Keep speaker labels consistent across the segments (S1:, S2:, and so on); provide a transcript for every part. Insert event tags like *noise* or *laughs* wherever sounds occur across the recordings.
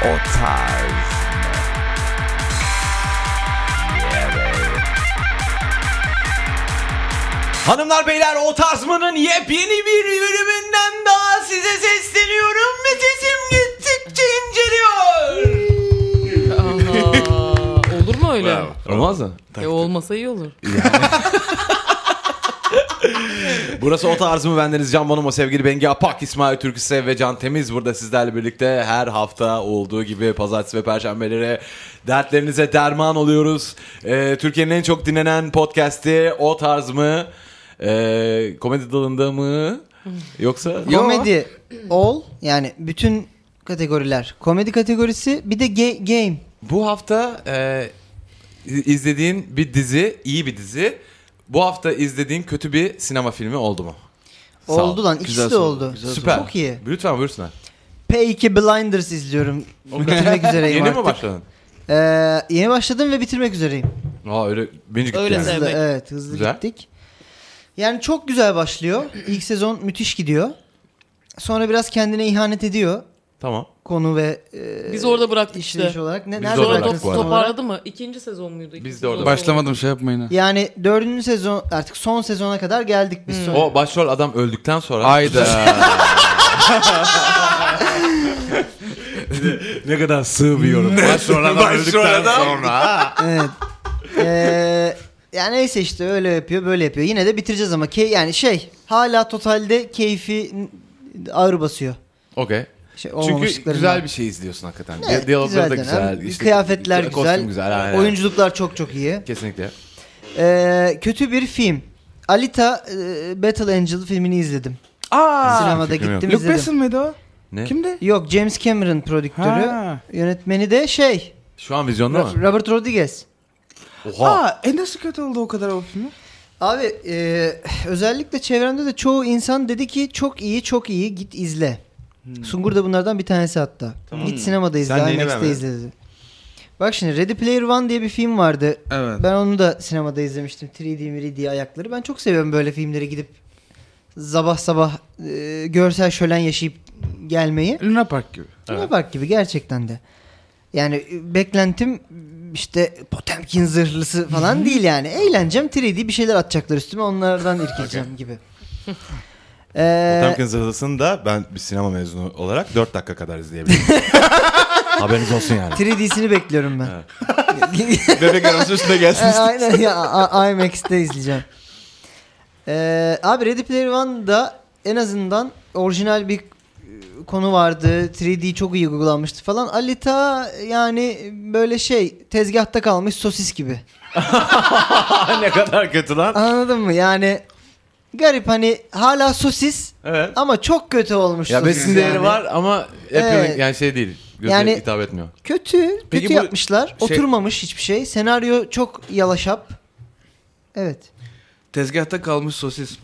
S1: O tarz.
S2: Hanımlar beyler o tarzmanın yepyeni bir bölümünden daha size sesleniyorum ve sesim gittikçe inceliyor.
S3: Aha, olur mu öyle?
S2: Olmaz mı?
S3: E, olmasa iyi olur.
S2: Burası o tarz mı? Bendeniz Can Bonomo, sevgili Bengi Apak, İsmail Türküsev ve Can Temiz burada sizlerle birlikte her hafta olduğu gibi pazartesi ve perşembelere dertlerinize derman oluyoruz. Ee, Türkiye'nin en çok dinlenen podcast'i o tarz mı? Ee, komedi dalında mı? Yoksa
S4: Komedi all yani bütün kategoriler. Komedi kategorisi bir de ge- game.
S2: Bu hafta e, izlediğin bir dizi, iyi bir dizi. Bu hafta izlediğin kötü bir sinema filmi oldu mu? Sağ ol.
S4: Oldu lan ikisi
S5: Güzel
S4: de
S5: soru,
S4: oldu.
S5: güzel
S2: Süper.
S4: Çok iyi.
S2: Lütfen buyursunlar.
S4: Peaky Blinders izliyorum. Bitirmek üzereyim
S2: Yeni
S4: artık.
S2: mi başladın?
S4: Ee, yeni başladım ve bitirmek üzereyim.
S2: Aa öyle bence gitti
S3: Öyle
S2: yani.
S3: zaten.
S4: Hızlı,
S3: Evet.
S4: evet hızlı
S2: Güzel.
S4: gittik. Yani çok güzel başlıyor. İlk sezon müthiş gidiyor. Sonra biraz kendine ihanet ediyor
S2: Tamam.
S4: konu ve e,
S3: Biz orada bıraktık
S4: işleyiş
S3: işte.
S4: olarak. Ne,
S2: Biz
S4: nerede
S2: de orada
S3: Sonra
S4: bıraktınız
S3: top,
S2: bıraktık bu arada.
S4: tam olarak?
S3: toparladı mı? İkinci sezon muydu? İkinci
S2: Biz de orada
S3: sezon
S5: Başlamadım şey yapmayın ha.
S4: Yani dördüncü sezon artık son sezona kadar geldik biz
S3: Hmm.
S4: son.
S2: O başrol adam öldükten sonra
S5: Ayda.
S2: *laughs* ne kadar sığ bir yorum. başrol adam öldükten sonra.
S4: evet. Ee, yani neyse işte öyle yapıyor böyle yapıyor. Yine de bitireceğiz ama key yani şey hala totalde keyfi ağır basıyor.
S2: Okey.
S4: Şey,
S2: Çünkü
S4: olmamışlıklarından.
S2: güzel bir şey izliyorsun hakikaten.
S4: Evet,
S2: Di- Diyalogları da
S4: güzel dönem.
S2: güzel. işte
S4: Kıyafetler güzel.
S2: Kostüm güzel. aynen.
S4: Oyunculuklar çok çok iyi.
S2: Kesinlikle.
S4: Ee, kötü bir film. Alita e, Battle Angel filmini izledim.
S5: Aa.
S4: Sinemada
S2: fikrim yok.
S4: gittim
S5: Luke
S4: izledim.
S5: Besson mıydı o?
S2: Ne?
S5: Kimdi?
S4: Yok James Cameron prodüktörü.
S5: Ha.
S4: Yönetmeni de şey
S2: Şu an vizyonda mı?
S4: Robert Rodriguez.
S2: Oha.
S5: Aa, e nasıl kötü oldu o kadar o filmi?
S4: Abi e, özellikle çevremde de çoğu insan dedi ki çok iyi çok iyi git izle. Sungur da bunlardan bir tanesi hatta. Git sinemada izle
S2: Sen neyini
S4: IMAX'te
S2: beğenmedin?
S4: izle dedi. Bak şimdi Ready Player One diye bir film vardı.
S5: Evet.
S4: Ben onu da sinemada izlemiştim. 3D, 3D ayakları. Ben çok seviyorum böyle filmlere gidip sabah sabah e, görsel şölen yaşayıp gelmeyi.
S5: Luna Park gibi.
S4: Luna Park gibi gerçekten de. Yani e, beklentim işte Potemkin zırhlısı falan değil yani. Eğleneceğim 3D bir şeyler atacaklar üstüme onlardan irkileceğim gibi. Ee,
S6: Potemkin Zırhlısı'nı da ben bir sinema mezunu olarak 4 dakika kadar izleyebilirim.
S4: *laughs*
S6: Haberiniz olsun yani.
S4: 3D'sini bekliyorum ben.
S6: Bebek arabası üstüne gelsin.
S4: E, *laughs* Aynen ya A- IMAX'te izleyeceğim. Ee, abi Ready Player One'da en azından orijinal bir e, konu vardı. 3D çok iyi uygulanmıştı falan. Alita yani böyle şey tezgahta kalmış sosis gibi.
S2: *laughs* ne kadar kötü lan.
S4: Anladın mı? Yani garip hani hala sosis
S2: Evet.
S4: ama çok kötü olmuş.
S2: Ya
S4: sosis
S2: besin değeri
S4: yani.
S2: var ama
S4: Evet.
S2: hepimiz yani şey değil. Göze
S4: Yani-
S2: hitap etmiyor.
S4: Kötü. Kötü
S2: Peki bu
S4: yapmışlar.
S2: şey-
S4: Oturmamış hiçbir şey. Senaryo çok yalaşap. Evet.
S5: Tezgahta kalmış sosis.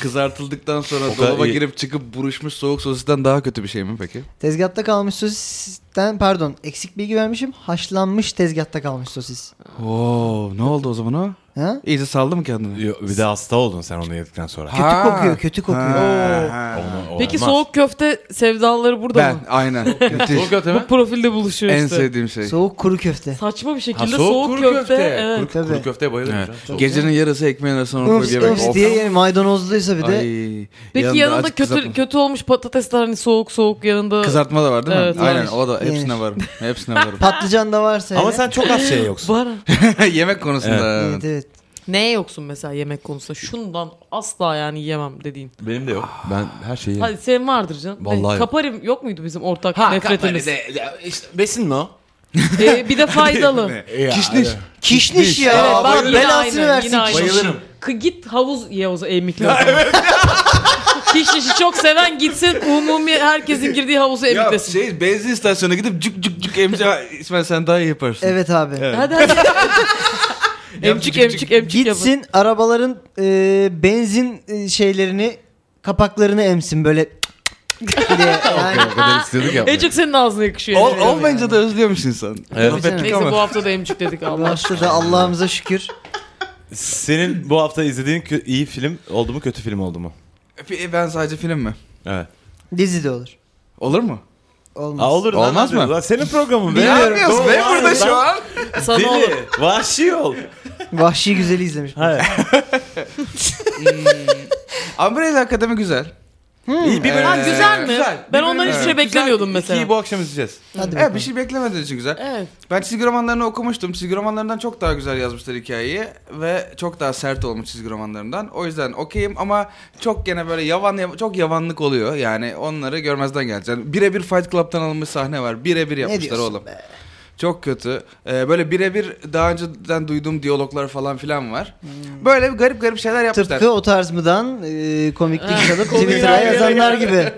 S5: Kızartıldıktan sonra
S2: kadar
S5: dolaba
S2: iyi.
S5: girip çıkıp buruşmuş soğuk sosisten daha kötü bir şey mi peki?
S4: Tezgahta kalmış sosisten pardon eksik bilgi vermişim. Haşlanmış tezgahta kalmış sosis.
S5: Oo, ne oldu o zaman o?
S4: Ha?
S5: İyice saldı mı kendini?
S6: Yo, Bir de hasta oldun sen onu yedikten sonra.
S4: Kötü
S5: Ha.
S4: kokuyor, kötü kokuyor.
S5: Ha, ha.
S6: Onu- o
S3: Peki
S6: olmaz.
S3: soğuk köfte sevdaları burada
S5: Ben
S3: mı?
S4: *laughs*
S5: aynen. Müthiş.
S2: Soğuk kötü
S3: Bu
S2: mü?
S3: profilde buluşuyor
S5: en
S3: işte.
S5: sevdiğim şey.
S4: Soğuk kuru köfte.
S3: Saçma bir şekilde
S2: Ha,
S3: soğuk, köfte. Evet.
S2: Kuru, kuru
S4: Tabii.
S2: köfteye bayılırım.
S5: Evet.
S2: canım.
S5: Gecenin yarısı ekmeğin arasına onu koyup
S4: Öfs
S5: yemek.
S4: öfs diye yani maydanozluysa bir de.
S5: Ay,
S3: Peki yanında
S5: azıcık
S3: kötü
S5: kızartma.
S3: kötü olmuş patatesler hani soğuk soğuk yanında.
S5: Kızartma da var değil mi?
S3: Evet, var.
S5: Aynen o da
S4: Yenir.
S5: hepsine varım.
S4: *laughs*
S5: Hepsine varım.
S4: Patlıcan da varsa.
S6: Ama
S4: hele.
S6: sen çok az şey
S2: *laughs*
S6: yoksun.
S3: Var.
S5: Yemek konusunda.
S4: Evet evet.
S3: Neye yoksun mesela yemek konusunda? Şundan asla yani yemem dediğin.
S2: Benim de yok. Ben her şeyi yerim.
S3: Hadi senin vardır canım. E,
S2: Vallahi yok. E,
S3: Kaparim yok muydu bizim ortak nefretimiz?
S2: besin mi o?
S3: Ee,
S2: *laughs*
S3: bir de faydalı.
S5: Kişniş.
S4: Kişniş ya.
S3: evet,
S4: Allah
S3: bak yine
S4: belasını
S3: aynı,
S4: versin
S3: yine aynı.
S4: kişniş.
S2: Bayılırım.
S3: K- git havuz ye o zaman emikle. *laughs* Kişnişi çok seven gitsin umumi herkesin girdiği havuzu
S5: Ya
S3: emiklesin.
S5: şey benzin istasyonuna gidip cuk cuk
S3: *laughs*
S5: cuk emce İsmail sen daha iyi yaparsın.
S4: Evet abi.
S3: Hadi
S5: *laughs*
S3: hadi. *laughs* emcik emcik emcik yapın.
S4: Gitsin arabaların e, benzin e, şeylerini kapaklarını emsin böyle. *laughs* diye. Yani,
S2: O kadar istiyorduk ya.
S3: En çok senin ağzına yakışıyor.
S5: Ol,
S3: Evet.
S5: olmayınca da özlüyormuş insan.
S2: Evet.
S4: Tabii canım.
S3: Neyse bu hafta da emcik
S5: *laughs*
S3: dedik
S4: bu
S3: Allah aşkına.
S4: hafta da Allah'ımıza şükür.
S6: Senin bu hafta izlediğin kö- iyi film oldu mu kötü film oldu mu?
S5: e, Pe- Ben sadece film mi?
S6: Evet.
S4: Dizi de olur.
S5: Olur mu?
S4: Olmaz.
S6: Aa, olur lan,
S2: Olmaz
S6: hadi
S2: mı?
S6: Lan. Senin programın. be.
S5: Ne
S6: Bilmiyorum.
S5: yapıyorsun be
S6: Doğru.
S5: burada şu an?
S3: Sana
S6: Deli,
S3: olur.
S6: vahşi ol.
S4: Vahşi güzeli izlemiş.
S6: Hayır.
S5: Umbrella Akademi güzel. Ee,
S6: İyi bir
S3: Hmm. Ha,
S6: bölüm.
S3: güzel mi?
S5: güzel.
S3: Ben
S5: Bir
S3: ondan
S5: bölüm
S3: hiçbir
S5: var.
S3: şey beklemiyordum
S6: *laughs*
S3: mesela.
S6: İyi bu akşam izleyeceğiz.
S4: Hadi
S5: Evet
S4: bakalım.
S5: bir şey beklemediğin için güzel.
S3: Evet.
S5: Ben çizgi romanlarını okumuştum. Çizgi romanlarından çok daha güzel yazmışlar hikayeyi. Ve çok daha sert olmuş çizgi romanlarından. O yüzden okeyim ama çok gene böyle yavan, yav- çok yavanlık oluyor. Yani onları görmezden geleceksin. Birebir Fight Club'tan alınmış sahne var. Birebir yapmışlar
S4: diyorsun
S5: oğlum. Çok kötü. Ee, böyle birebir daha önceden duyduğum diyaloglar falan filan var. Böyle bir garip garip şeyler yapmışlar.
S4: Hmm. Tıpkı o tarz mıdan e, komiklik
S3: Ha,
S4: çalıp
S3: konuyu
S4: Twitter'a
S3: ayrı-
S4: yazanlar gibi.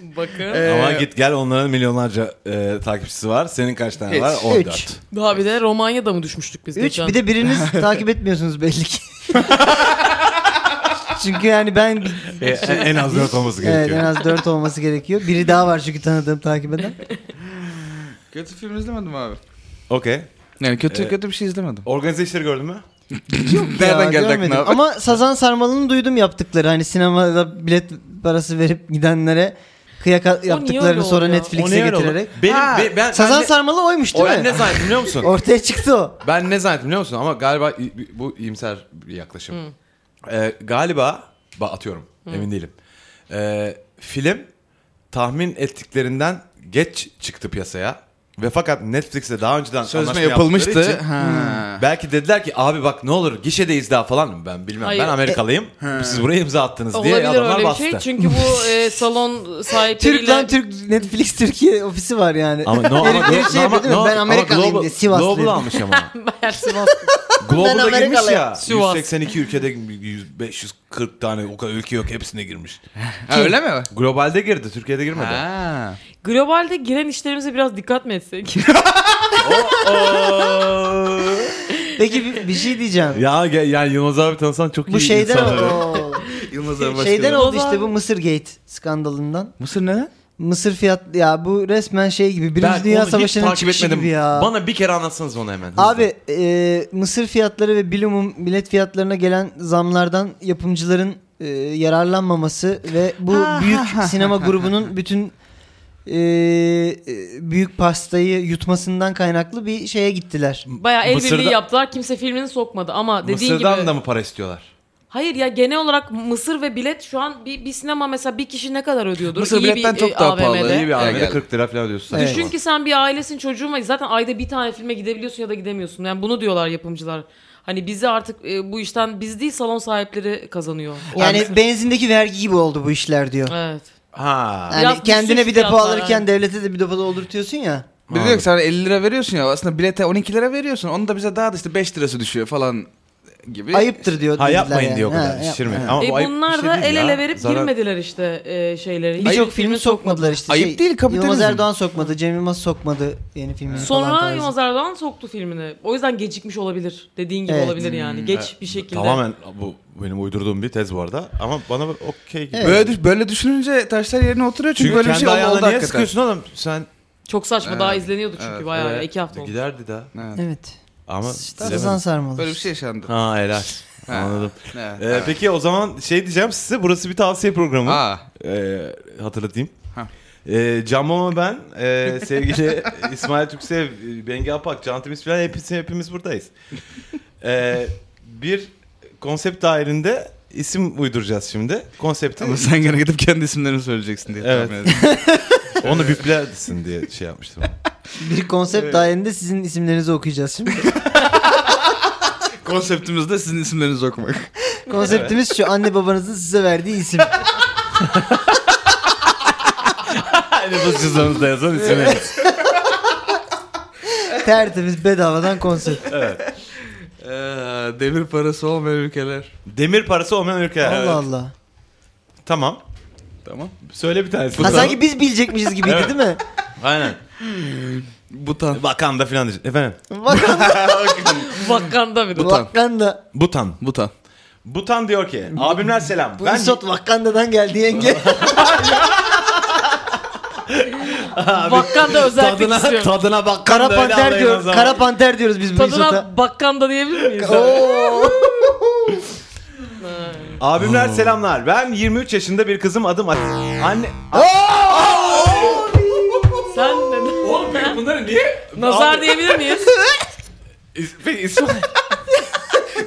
S3: Bakın.
S5: Ee,
S6: Ama git gel onların milyonlarca e, takipçisi var. Senin kaç tane
S5: Üç.
S6: var?
S5: Üç.
S6: 14.
S3: Daha bir de Romanya'da mı düşmüştük biz
S4: Üç
S3: geçen?
S4: bir
S6: *laughs*
S4: de biriniz takip etmiyorsunuz belli ki. çünkü yani ben
S6: E, e, en az 4 olması
S4: evet,
S6: gerekiyor.
S4: en az dört olması gerekiyor. Biri daha var çünkü tanıdığım takip eden.
S5: Kötü film izlemedim abi.
S6: Okey.
S5: Yani kötü
S6: Ee,
S5: kötü bir şey izlemedim.
S6: Organize işleri gördün mü?
S5: *laughs* Nereden
S4: Ya,
S5: geldi aklına
S4: görmedim.
S5: abi?
S4: Ama Sazan Sarmalı'nı duydum yaptıkları. Hani sinemada bilet parası verip gidenlere kıyak
S3: öyle
S4: yaptıklarını sonra
S3: oluyor?
S4: Netflix'e getirerek.
S2: Benim,
S5: Ha,
S2: be- ben,
S4: Sazan
S2: ben,
S4: Sarmalı oymuş
S2: o
S4: değil
S2: ben
S4: mi?
S2: ne zannettim biliyor musun?
S4: Ortaya çıktı o.
S2: Ben ne zannettim biliyor musun? Ama galiba i- bu iyimser bir yaklaşım. Ee, galiba ba- atıyorum emin değilim. Ee, film tahmin ettiklerinden geç çıktı piyasaya ve fakat Netflix'te daha önceden
S5: Sözme
S2: anlaşma yaptıkları
S5: yapılmıştı.
S2: için
S4: Hmm.
S5: Ha.
S2: Belki dediler ki abi bak ne olur gişedeyiz daha falan ben bilmem
S3: Hayır.
S2: ben Amerikalıyım siz buraya imza attınız diye
S3: Olabilir
S2: adamlar
S3: öyle bir
S2: bastı.
S3: şey. Çünkü bu e, salon sahipleriyle...
S4: Türk
S3: *laughs*
S4: lan Türk Netflix Türkiye ofisi var yani.
S2: Ama
S4: *laughs*
S2: no, ama,
S4: Herifleri şey yapıyor değil mi? Ben Amerikalıyım
S2: Global-
S4: diye Sivaslıyım.
S2: Global almış ama.
S3: Meğer Sivas-
S2: Global'da
S4: Ben
S2: girmiş ya.
S3: Sivas.
S2: 182 ülkede 100, 540 tane o kadar ülke yok hepsine girmiş.
S5: Ha, öyle mi?
S2: Globalde girdi Türkiye'de girmedi.
S5: Ha.
S3: Globalde giren işlerimize biraz dikkat mi etsek?
S4: Peki bir, bir şey diyeceğim.
S2: Ya ge- yani Yılmaz abi tanısan çok iyi
S4: bu şeyden
S2: insan.
S4: oldu.
S5: Yılmaz
S4: şeyden
S3: başkanı.
S4: oldu işte bu Mısır Gate skandalından.
S5: Mısır ne?
S4: Mısır fiyat ya bu resmen şey gibi
S2: Ben
S4: Birinci Dünya
S2: onu hiç
S4: Savaşı'nın
S2: takip
S4: çıkışı
S2: etmedim.
S4: gibi ya.
S2: Bana bir kere anlatsanız onu hemen. hızlı.
S4: Abi e, mısır fiyatları ve bilumum bilet fiyatlarına gelen zamlardan yapımcıların e, yararlanmaması ve bu
S3: Ah.
S4: büyük
S3: *laughs*
S4: sinema grubunun bütün e, e, büyük pastayı yutmasından kaynaklı bir şeye gittiler.
S3: Bayağı el
S2: Mısır'da-
S3: birliği yaptılar. Kimse filmini sokmadı ama dediğin
S2: Mısır'dan
S3: gibi...
S2: da mı para istiyorlar?
S3: Hayır ya genel olarak Mısır ve bilet şu an bir, bir sinema mesela bir kişi ne kadar ödüyordur?
S5: Mısır
S3: İyi
S5: biletten
S3: bir,
S5: çok
S3: e,
S5: daha
S3: AVM'de.
S5: pahalı, iyi bir
S2: Bir
S5: Ya
S2: AVM'de
S5: geldi.
S2: 40 lira falan ödüyorsun.
S4: Evet.
S3: Düşün ki sen bir ailesin çocuğun var. Zaten ayda bir tane filme gidebiliyorsun ya da gidemiyorsun. Yani bunu diyorlar yapımcılar. Hani bizi artık e, bu işten biz değil salon sahipleri kazanıyor. O-
S4: Yani benzindeki vergi gibi oldu bu işler diyor.
S3: Evet.
S2: Ha.
S4: Yani
S3: Biraz
S4: kendine
S3: düşük
S4: bir depo
S3: fiyatlar,
S4: alırken
S3: aynen.
S4: devlete de bir depoda oldurtuyorsun ya.
S5: Bir de diyor ki sana 50 lira veriyorsun ya aslında bilete 12 lira veriyorsun. Onu da bize daha da işte 5 lirası düşüyor falan gibi.
S4: Ayıptır diyor.
S2: Ha
S4: dediler
S2: yapmayın
S4: yani.
S2: diyor o
S4: Ha,
S2: kadar.
S4: yap-
S2: Şişirmeyin.
S4: ha.
S2: Ama
S3: E,
S2: bu ayıp bir
S3: bunlar
S2: şey
S3: da
S2: değil
S3: el
S2: ya.
S3: ele verip
S2: Zarar-
S3: girmediler işte e, şeyleri.
S4: Birçok
S3: Ayıp
S4: filmi sokmadılar işte. şey,
S5: Ayıp değil, kapitalizm.
S4: Yılmaz Erdoğan sokmadı, Cem Yılmaz sokmadı yeni filmini falan
S3: Sonra
S4: tarzı.
S3: Yılmaz Erdoğan soktu filmini. O yüzden gecikmiş olabilir. Dediğin gibi
S4: Evet.
S3: olabilir yani. Geç bir şekilde.
S6: Tamamen bu benim uydurduğum bir tez bu arada. Ama bana okey gibi.
S5: Böyle, düş- böyle düşününce taşlar yerine oturuyor çünkü,
S6: Çünkü
S5: böyle bir
S6: kendi
S5: şey oldu,
S6: ayağına
S5: oldu
S6: niye
S5: hakikaten.
S6: sıkıyorsun oğlum? Sen
S3: Çok saçma daha izleniyordu çünkü
S5: Evet,
S3: bayağı ya,
S2: Evet,
S3: iki hafta oldu.
S2: Giderdi daha.
S5: Evet.
S4: Evet.
S6: Ama
S4: Sazan sarmalı.
S5: Böyle bir şey yaşandı.
S2: Ha helal. Anladım.
S5: Evet.
S6: Ee, Peki o zaman şey diyeceğim size burası bir tavsiye programı.
S5: Aa.
S6: Ee, hatırlatayım.
S5: Ha.
S6: Ee, Can Mama ben, ee, sevgili *laughs* İsmail Türksev, e, Bengi Apak, Can Temiz falan hepimiz, hepimiz buradayız. Ee, bir konsept dairinde isim uyduracağız şimdi. Konsepti
S5: Ama sen gene gidip kendi isimlerini söyleyeceksin diye
S6: Evet.
S5: tahmin ediyorum.
S6: *laughs* onu biplersin diye şey yapmıştım.
S4: Bir konsept dahilinde sizin isimlerinizi okuyacağız
S6: *laughs*
S4: şimdi.
S5: *laughs* Konseptimiz de sizin
S6: *laughs*
S5: isimlerinizi okumak.
S4: Konseptimiz şu anne babanızın size verdiği isim.
S6: Nüfus Hani cüzdanınızda yazan isim.
S4: Tertemiz bedavadan konsept.
S5: Ee, demir parası olmayan ülkeler.
S6: Demir parası olmayan ülkeler.
S4: Allah
S6: Evet.
S4: Allah.
S6: Tamam.
S5: Tamam.
S6: Söyle bir tanesini.
S4: Ha,
S6: Tamam.
S4: sanki biz bilecekmişiz gibiydi
S6: Evet.
S4: değil mi?
S6: Aynen.
S5: Butan.
S6: Vakanda filan. diyecek. Efendim.
S4: Vakanda.
S3: Vakanda bir de.
S4: Vakanda.
S6: Butan.
S5: Butan.
S6: Butan diyor ki abimler selam.
S4: Bu
S6: ben
S4: Isot Vakanda'dan
S6: *laughs*
S4: geldi yenge.
S3: *laughs* Vakanda özellik istiyorum.
S6: tadına bak.
S4: Kara
S6: öyle
S4: panter
S6: alayım o
S4: diyoruz.
S6: zaman.
S4: Kara panter diyoruz biz bu Isot'a.
S3: Tadına bakkanda diyebilir miyiz?
S6: Abimler selamlar. Ben 23 yaşında bir kızım adım Anne.
S4: Aa!
S1: Niye?
S3: Nazar diyebilir miyiz?
S1: İs- Peki İsmail.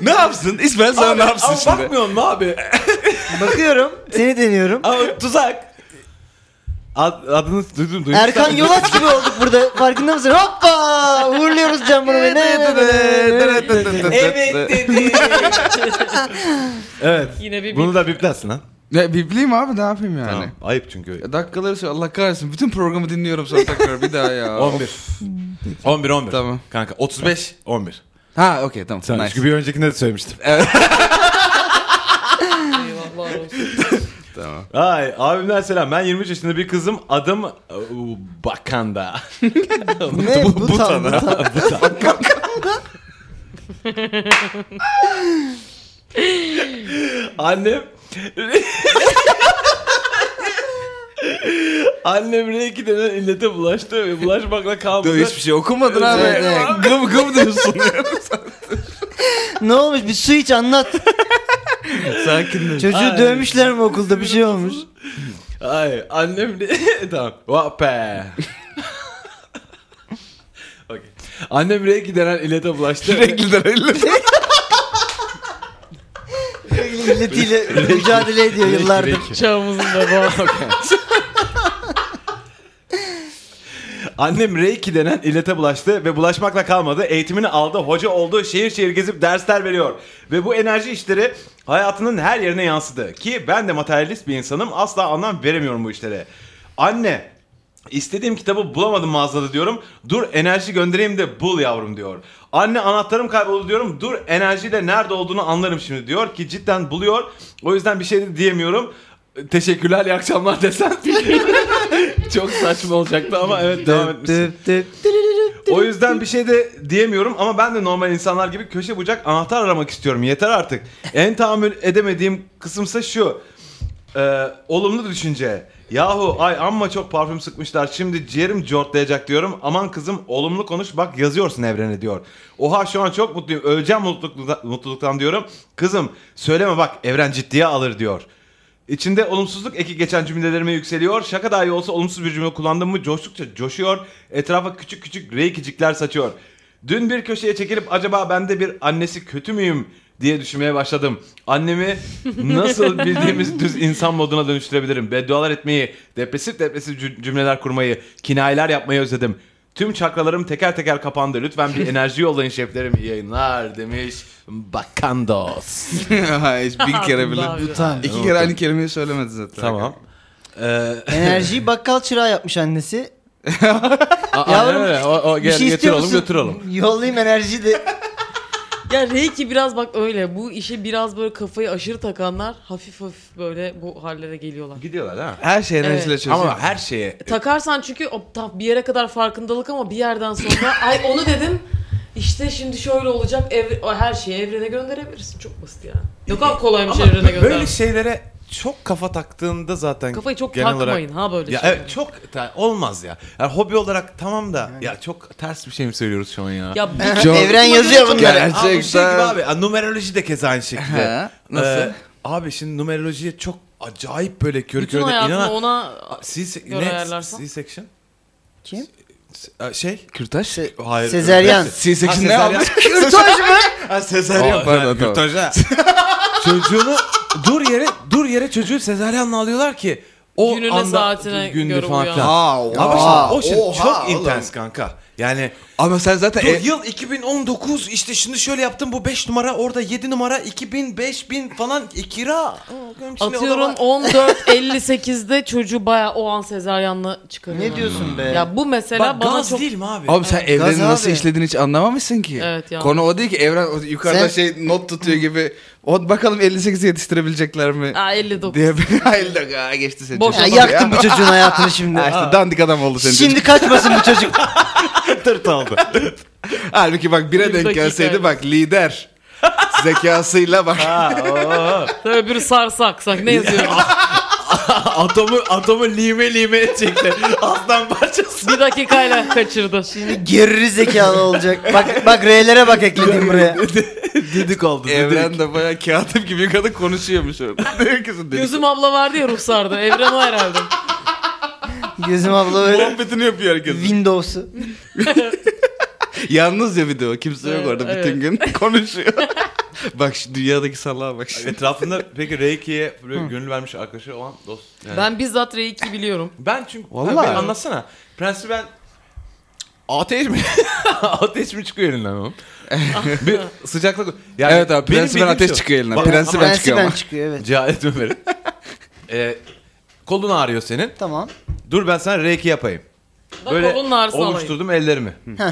S5: ne yapsın? İsmail sana ne yapsın
S1: Ama
S5: şimdi?
S1: bakmıyor mu abi?
S4: Bakıyorum. Seni deniyorum.
S1: Ama tuzak.
S2: Ad- adını duydum duydum.
S4: Erkan Yolaç gibi olduk burada. Farkında mısın? Hoppa! Uğurluyoruz Can bunu.
S1: evet dedi.
S2: Evet.
S3: Yine bir
S2: Bunu da biplersin lan.
S5: Ne bipliyim abi ne yapayım
S6: Hani.
S5: yani?
S2: Tamam. Ayıp çünkü.
S5: Ya Dakikaları söyle Allah kahretsin. Bütün programı dinliyorum sonra tekrar bir
S2: *laughs*
S5: daha ya.
S1: 11. 11 11.
S5: Tamam.
S1: Kanka 35 11.
S5: Ha okey tamam.
S2: Sen
S5: nice.
S2: çünkü bir öncekinde de söylemiştim.
S3: Eyvallah olsun.
S5: Tamam.
S2: Ay abimden selam. Ben 23 yaşında bir kızım. Adım Uu, Bakanda.
S4: Ne? Bu, bu tam. Bu tam.
S2: Annem *laughs* Annem R2 denen illete bulaştı ve bulaşmakla kalmadı.
S5: Hiçbir şey okumadın abi.
S4: Evet, evet.
S5: Gım gım diyorsun.
S4: ne olmuş? Bir su iç anlat.
S5: Sakin ol.
S4: Çocuğu
S2: Ay.
S4: dövmüşler mi okulda? Bir şey olmuş.
S2: Ay annem re- *laughs* tamam. Vah be. Okey. Annem R2 denen illete bulaştı. ve-
S5: Renkliler öyle.
S4: İlletiyle mücadele ediyor yıllardır.
S3: Çağımızın da
S2: *laughs*
S3: bu.
S2: Annem Reiki denen illete bulaştı ve bulaşmakla kalmadı. Eğitimini aldı, hoca oldu, şehir şehir gezip dersler veriyor. Ve bu enerji işleri hayatının her yerine yansıdı. Ki ben de materyalist bir insanım, asla anlam veremiyorum bu işlere. Anne, istediğim kitabı bulamadım mağazada diyorum. Dur enerji göndereyim de bul yavrum diyor. Anne anahtarım kayboldu diyorum. Dur enerjiyle nerede olduğunu anlarım şimdi diyor ki cidden buluyor. O yüzden bir şey de diyemiyorum. Teşekkürler, iyi akşamlar desen. Çok saçma *laughs* olacaktı ama evet devam
S4: Dıp
S2: etmişsin.
S4: dıp dıp dırırırıp.
S2: O yüzden bir şey de diyemiyorum ama ben de normal insanlar gibi köşe bucak anahtar aramak istiyorum. Yeter artık. En tahammül edemediğim kısımsa şu. Ee, olumlu düşünce. Yahu ay amma çok parfüm sıkmışlar şimdi ciğerim cortlayacak diyorum. Aman kızım olumlu konuş bak yazıyorsun evrene diyor. Oha şu an çok mutluyum öleceğim mutluluktan, mutluluktan diyorum. Kızım söyleme bak evren ciddiye alır diyor. İçinde olumsuzluk eki geçen cümlelerime yükseliyor. Şaka dahi olsa olumsuz bir cümle kullandım mı coştukça coşuyor. Etrafa küçük küçük reykicikler saçıyor. Dün bir köşeye çekilip acaba ben de bir annesi kötü müyüm diye düşünmeye başladım. Annemi
S4: *laughs*
S2: nasıl bildiğimiz düz insan moduna dönüştürebilirim? Beddualar etmeyi, depresif depresif cü- cümleler kurmayı, kinayeler yapmayı özledim. Tüm çakralarım teker teker kapandı. Lütfen bir enerji yollayın şeflerim. İyi yayınlar demiş Bakandos.
S5: Hayır bir kere bile.
S3: Abi.
S4: Tamam.
S5: İki kere aynı kelimeyi söylemedi zaten.
S2: Tamam.
S1: *laughs*
S2: Ee,
S4: Enerjiyi bakkal çırağı yapmış annesi.
S1: A-
S4: Yavrum,
S1: aynen öyle. O, o,
S4: Bir
S1: gel,
S4: şey
S1: getir
S4: istiyor
S1: oğlum
S4: musun?
S1: götür oğlum.
S4: Yollayayım enerjiyi de.
S3: Ya Reiki biraz bak öyle. Bu işe biraz böyle kafayı aşırı takanlar hafif hafif böyle bu hallere geliyorlar.
S2: gidiyorlar ha.
S5: Her şey enerjiyle
S3: Evet.
S5: çözüyor.
S1: Ama her şeye
S3: E, Takarsan çünkü o, tam bir yere kadar farkındalık ama bir
S1: *laughs*
S3: yerden sonra ay onu dedim. İşte şimdi şöyle olacak. ev- o her şeyi evrene gönderebilirsin. Çok basit yani. Yok abi kolaymış
S1: Ama
S3: evrene
S1: böyle şey
S3: gönder.
S1: şeylere çok kafa taktığında zaten
S3: Kafayı çok
S1: genel olarak-
S3: takmayın ha böyle
S1: Ya
S3: şeylere.
S1: evet çok ta- olmaz ya. Yani hobi olarak tamam da ya çok ters bir şey mi söylüyoruz şu an ya?
S3: Ya
S1: *laughs*
S3: bu-
S5: Çok-
S4: Evren yazıyor bunları.
S1: Abi bu şey gibi
S5: Gerçekten.
S1: abi. ya Numeroloji de keza aynı şekilde.
S5: He, nasıl?
S1: Ee, abi şimdi numerolojiye çok acayip böyle körü
S3: bütün
S1: körüne
S3: hayatını
S1: inanan.
S3: ona
S1: C,
S3: göre ayarlarsan.
S1: section?
S4: Kim?
S1: şey?
S5: Kürtaş.
S1: Hayır.
S4: Sezeryan.
S5: C-section ne
S1: Ha, *laughs*
S5: yapmış?
S4: Kürtaj mı?
S1: Ha sezaryen
S5: Aa, pardon, tamam.
S1: *laughs* Çocuğunu dur yere dur yere çocuğu sezaryenle alıyorlar ki o
S3: Gününe,
S1: anda
S3: saatine
S1: gündür
S3: göre
S1: falan
S3: uyan.
S1: filan. Ama işte o şey çok intens kanka. Yani
S5: Ama sen zaten...
S1: dur,
S5: e-
S1: yıl 2019 işte şimdi şöyle yaptım bu 5 numara orada 7 numara 2000 5000 falan ikira.
S3: atıyorum 14.58'de çocuğu baya o an sezaryanla çıkarıyor.
S4: Ne diyorsun be?
S3: Ya bu mesela
S1: Bak
S3: bana
S1: gaz
S3: çok...
S1: değil mi abi?
S5: Abi sen evrenin
S4: abi.
S5: nasıl işlediğini hiç anlamamışsın ki.
S3: Evet ya.
S5: Konu o değil ki evren o yukarıda
S4: Sen-
S5: şey not tutuyor gibi. O bakalım 58'i yetiştirebilecekler mi?
S3: Aa 59.
S5: diye bir *laughs* hayır da aa, geçti senin.
S3: Boş
S5: çocuğun.
S3: adam
S4: Ya yaktın
S5: *laughs*
S4: bu çocuğun hayatını şimdi.
S5: Ha işte dandik adam oldu senin. Şimdi...
S4: Şimdi kaçmasın bu çocuk.
S2: Tırt oldu.
S5: Halbuki
S3: Bir
S5: bak bire denk
S3: dakika
S5: gelseydi
S3: evet.
S5: bak lider. *laughs* Zekasıyla bak.
S3: Tabii biri sarsak sanki ne yazıyor?
S1: *laughs* atomu atomu lime lime edecekler. Aslan parçası.
S3: bir dakikayla kaçırdı. Şimdi
S4: Geri zekalı olacak. Bak bak R'lere bak ekledim buraya.
S1: Dedik oldu.
S5: Evren de bayağı kağıtım gibi kadın *laughs* konuşuyormuş öyle. Diyor ki sen dedik.
S3: Gözüm abla vardı ya Ruhsar'da. Evren o herhalde.
S4: Gözüm abla böyle
S5: Muhabbetini yapıyor herkes.
S4: Windows'u.
S5: Yalnız ya bir de o. Kimse yok
S3: Evet,
S5: orada bütün gün *laughs* konuşuyor. bak şu dünyadaki salağa bak şimdi.
S2: Etrafında peki Reiki'ye böyle gönül vermiş arkadaşı olan dost. Yani.
S3: Ben bizzat R2 biliyorum.
S2: Ben çünkü
S5: Vallahi.
S2: Vallahi. anlatsana. Prensi ben ateş mi? *laughs* ateş mi çıkıyor elinden oğlum? bir sıcaklık. Yani
S5: evet abi
S2: benim
S5: prensiben
S2: bildiğim
S5: ateş
S2: şu.
S5: çıkıyor elinden.
S2: Bak-
S5: prensiben
S2: Ama-
S5: çıkıyor
S4: Prensiben
S5: ama.
S4: çıkıyor evet.
S2: Cehalet Ömer'i. *laughs* ee, kolun ağrıyor senin.
S4: Tamam.
S2: Dur ben sana reiki yapayım.
S3: Bak
S2: Böyle
S3: kolunun ağrısı alayım.
S2: oluşturdum ellerimi.
S4: Heh.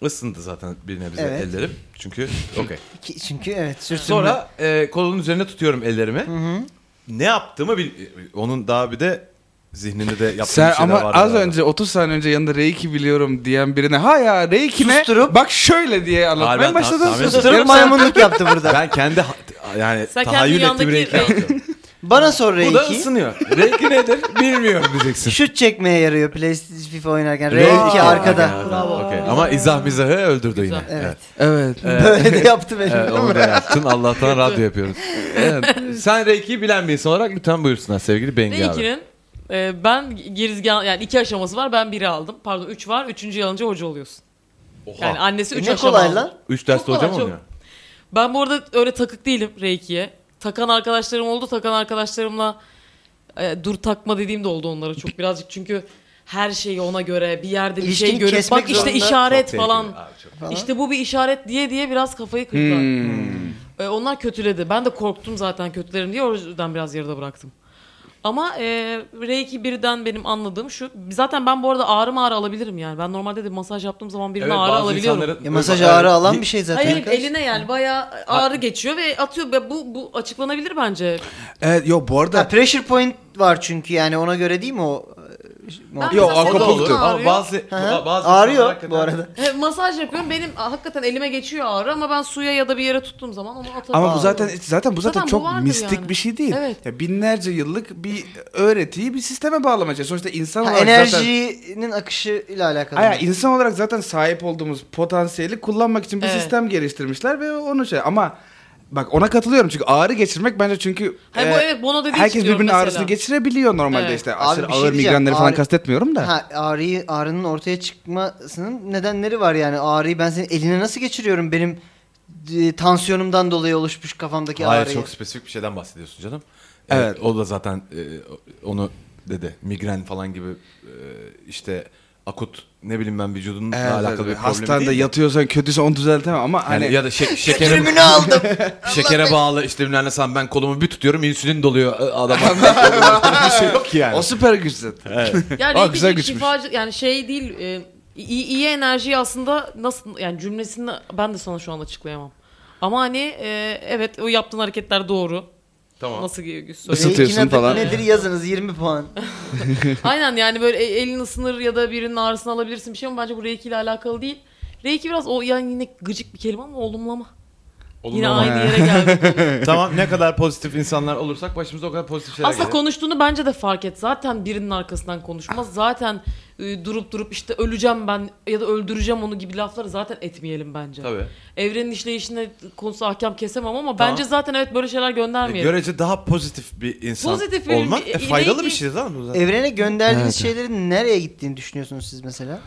S2: Isındı zaten bir nebze
S4: Evet.
S2: ellerim. Çünkü okey.
S4: Ki- Çünkü evet sürtünme.
S2: Sonra e, kolun üzerine tutuyorum ellerimi.
S4: Hı-hı.
S2: Ne yaptığımı bil... Onun daha bir de zihninde de yaptığım
S5: Sen
S2: şeyler
S5: ama
S2: var.
S5: az
S2: arada.
S5: önce 30 saniye önce yanında Reiki biliyorum diyen birine ha ya Reiki ne?
S4: Susturup-
S5: Bak şöyle diye
S2: Hayır,
S5: anlatmaya
S2: ben ta-
S5: başladın.
S2: tahmin
S5: Sus-
S2: ediyorum.
S5: Yarım saat-
S4: maymunluk yaptı burada.
S2: Ben kendi ha- yani
S3: Sen kendi
S2: tahayyül ettiğim
S3: yandaki
S2: reiki
S3: reiki.
S2: yaptım.
S4: Bana sor
S2: Bu da
S4: Reiki.
S2: ısınıyor. Reiki nedir *laughs* bilmiyorum diyeceksin.
S4: Şut çekmeye yarıyor PlayStation FIFA oynarken. Reiki arkada.
S3: Bravo.
S2: Okey. Ama izah mizahı öldürdü
S3: Güzel.
S2: yine.
S4: Evet.
S5: Evet.
S4: Böyle de yaptı benim.
S2: Evet, onu da yaptın. Allah'tan
S3: *laughs*
S2: radyo yapıyoruz. Evet. Sen Reiki'yi bilen bir insan olarak lütfen buyursunlar sevgili Bengi abi.
S3: R2'nin e, ben girizgah yani iki aşaması var. Ben biri aldım. Pardon üç var. Üçüncü yalınca hoca oluyorsun.
S2: Oha.
S3: Yani annesi üç
S4: E, ne
S3: aşama
S4: kolay
S3: aldı.
S4: lan.
S2: Üç
S3: Çok
S2: derste
S3: kolay,
S2: hocam
S3: çok.
S2: oluyor.
S3: Ben bu arada öyle takık değilim Reiki'ye. Takan arkadaşlarım oldu. Takan arkadaşlarımla e, dur takma dediğim de oldu onlara çok birazcık. Çünkü her şeyi ona göre bir yerde bir şey
S4: İlişkini
S3: görüp
S4: kesmek
S3: bak işte
S4: zorunda.
S3: işaret
S2: Çok
S3: falan.
S2: tehlikeli abi, çok.
S4: falan.
S3: İşte bu bir işaret diye diye biraz kafayı kırdılar.
S5: Hmm.
S3: E, onlar kötüledi. Ben de korktum zaten kötülerim diye o yüzden biraz yarıda bıraktım. Ama e, Reiki birden benim anladığım şu. Zaten ben bu arada ağrı ağrı alabilirim yani. Ben normalde de masaj yaptığım zaman birine ağrı
S2: bazı
S3: alabiliyorum.
S2: insanların- Hani
S4: Ya masaj ağrı alan bir şey zaten.
S3: Hayır
S4: arkadaş.
S3: eline yani bayağı ağrı geçiyor ve atıyor. Ve Bu bu açıklanabilir bence.
S5: Evet yok bu arada
S4: Ha, pressure point var çünkü yani ona göre değil mi o? e,
S3: Ben
S4: Yok.
S3: mesela
S5: Yo,
S3: senin
S2: O da olur.
S5: Akupunktur.
S3: ağrıyor.
S2: Ama bazı,
S4: Hı hı.
S2: ba- bazı insanlar
S4: Ağrıyor
S2: hakikaten-
S4: bu arada.
S3: He, masaj yapıyorum. Benim ah, hakikaten elime geçiyor ağrı ama ben suya ya da bir yere tuttuğum zaman onu atamıyorum.
S5: Ama bu zaten zaten bu zaten,
S3: Zaten bu
S5: çok
S3: vardır
S5: mistik
S3: yani.
S5: bir şey değil.
S3: Evet.
S5: Ya binlerce yıllık bir öğretiyi bir sisteme bağlamaya çalışıyor. Sonuçta insan
S4: Ha,
S5: olarak zaten
S4: enerjinin akışıyla alakalı.
S5: Aya insan olarak zaten sahip olduğumuz potansiyeli kullanmak için bir
S3: Evet.
S5: sistem geliştirmişler ve onu şey ama bak ona katılıyorum çünkü ağrı geçirmek bence çünkü
S3: Hayır,
S5: e,
S3: bu evet Bono dediği için
S5: herkes
S3: diyorum
S5: birbirinin
S3: mesela.
S5: ağrısını geçirebiliyor normalde
S3: Evet.
S5: işte
S4: Abi
S5: aşırı
S4: bir şey
S5: ağır
S4: diyeceğim,
S5: migrenleri falan
S4: ağrı-
S5: kastetmiyorum da.
S4: Ha, ağrıyı, ağrının ortaya çıkmasının nedenleri var yani. Ağrıyı ben senin eline nasıl geçiriyorum? Benim e, tansiyonumdan dolayı oluşmuş kafamdaki
S2: Hayır
S4: ağrıyı.
S2: çok spesifik bir şeyden bahsediyorsun canım.
S5: Evet.
S2: Evet. o da zaten e, onu dedi. Migren falan gibi e, işte akut ne bileyim ben vücudunla
S5: Evet,
S2: alakalı
S5: evet.
S2: bir problem
S5: Ee, hastanede
S2: değil. de.
S5: yatıyorsan kötüyse onu düzeltemem ama
S2: Yani
S5: hani
S2: ya da *laughs* şek- şekere
S4: Tribünü aldım.
S2: şekere bağlı işte bilmem ne sen ben kolumu bir tutuyorum insülin doluyor e, adama. *laughs* bir
S5: *laughs*
S2: şey yok ki yani.
S5: o süper güç zaten.
S3: Yani
S5: Aa,
S3: Reiki
S5: güzel
S3: bir
S5: güçmüş.
S3: şifacı yani şey değil e, iyi, iyi enerjiyi aslında nasıl yani cümlesini ben de sana şu an açıklayamam. Ama hani e, evet o yaptığın hareketler doğru.
S2: Tamam.
S3: Nasıl söyleyeyim?
S5: Isıtıyorsun
S4: Reiki nedir-
S5: falan.
S4: Nedir yazınız
S2: *laughs*
S4: 20 puan.
S3: Aynen yani böyle e- elin ısınır ya da birinin ağrısını alabilirsin bir şey ama bence bu reiki ile alakalı değil. Reiki biraz o yani yine gıcık bir kelime ama olumlama. Yine
S2: Olumlama.
S3: aynı yere geldi.
S2: tamam ne kadar pozitif insanlar olursak başımıza o kadar pozitif şeyler
S3: Aslında
S2: gelir.
S3: konuştuğunu bence de fark et. Zaten birinin arkasından konuşmaz. Zaten e, durup durup işte öleceğim ben ya da öldüreceğim onu gibi lafları zaten etmeyelim bence.
S2: Tabii.
S3: Evrenin işleyişine konusu ahkam kesemem ama
S2: Tamam.
S3: bence zaten evet böyle şeyler göndermeyelim.
S2: Görece daha pozitif bir insan
S3: Pozitif bir-
S2: olmak e, faydalı bir
S3: reiki-
S2: şey zaten. bu zaten.
S4: Evrene gönderdiğiniz
S5: Evet.
S4: şeylerin nereye gittiğini düşünüyorsunuz siz mesela?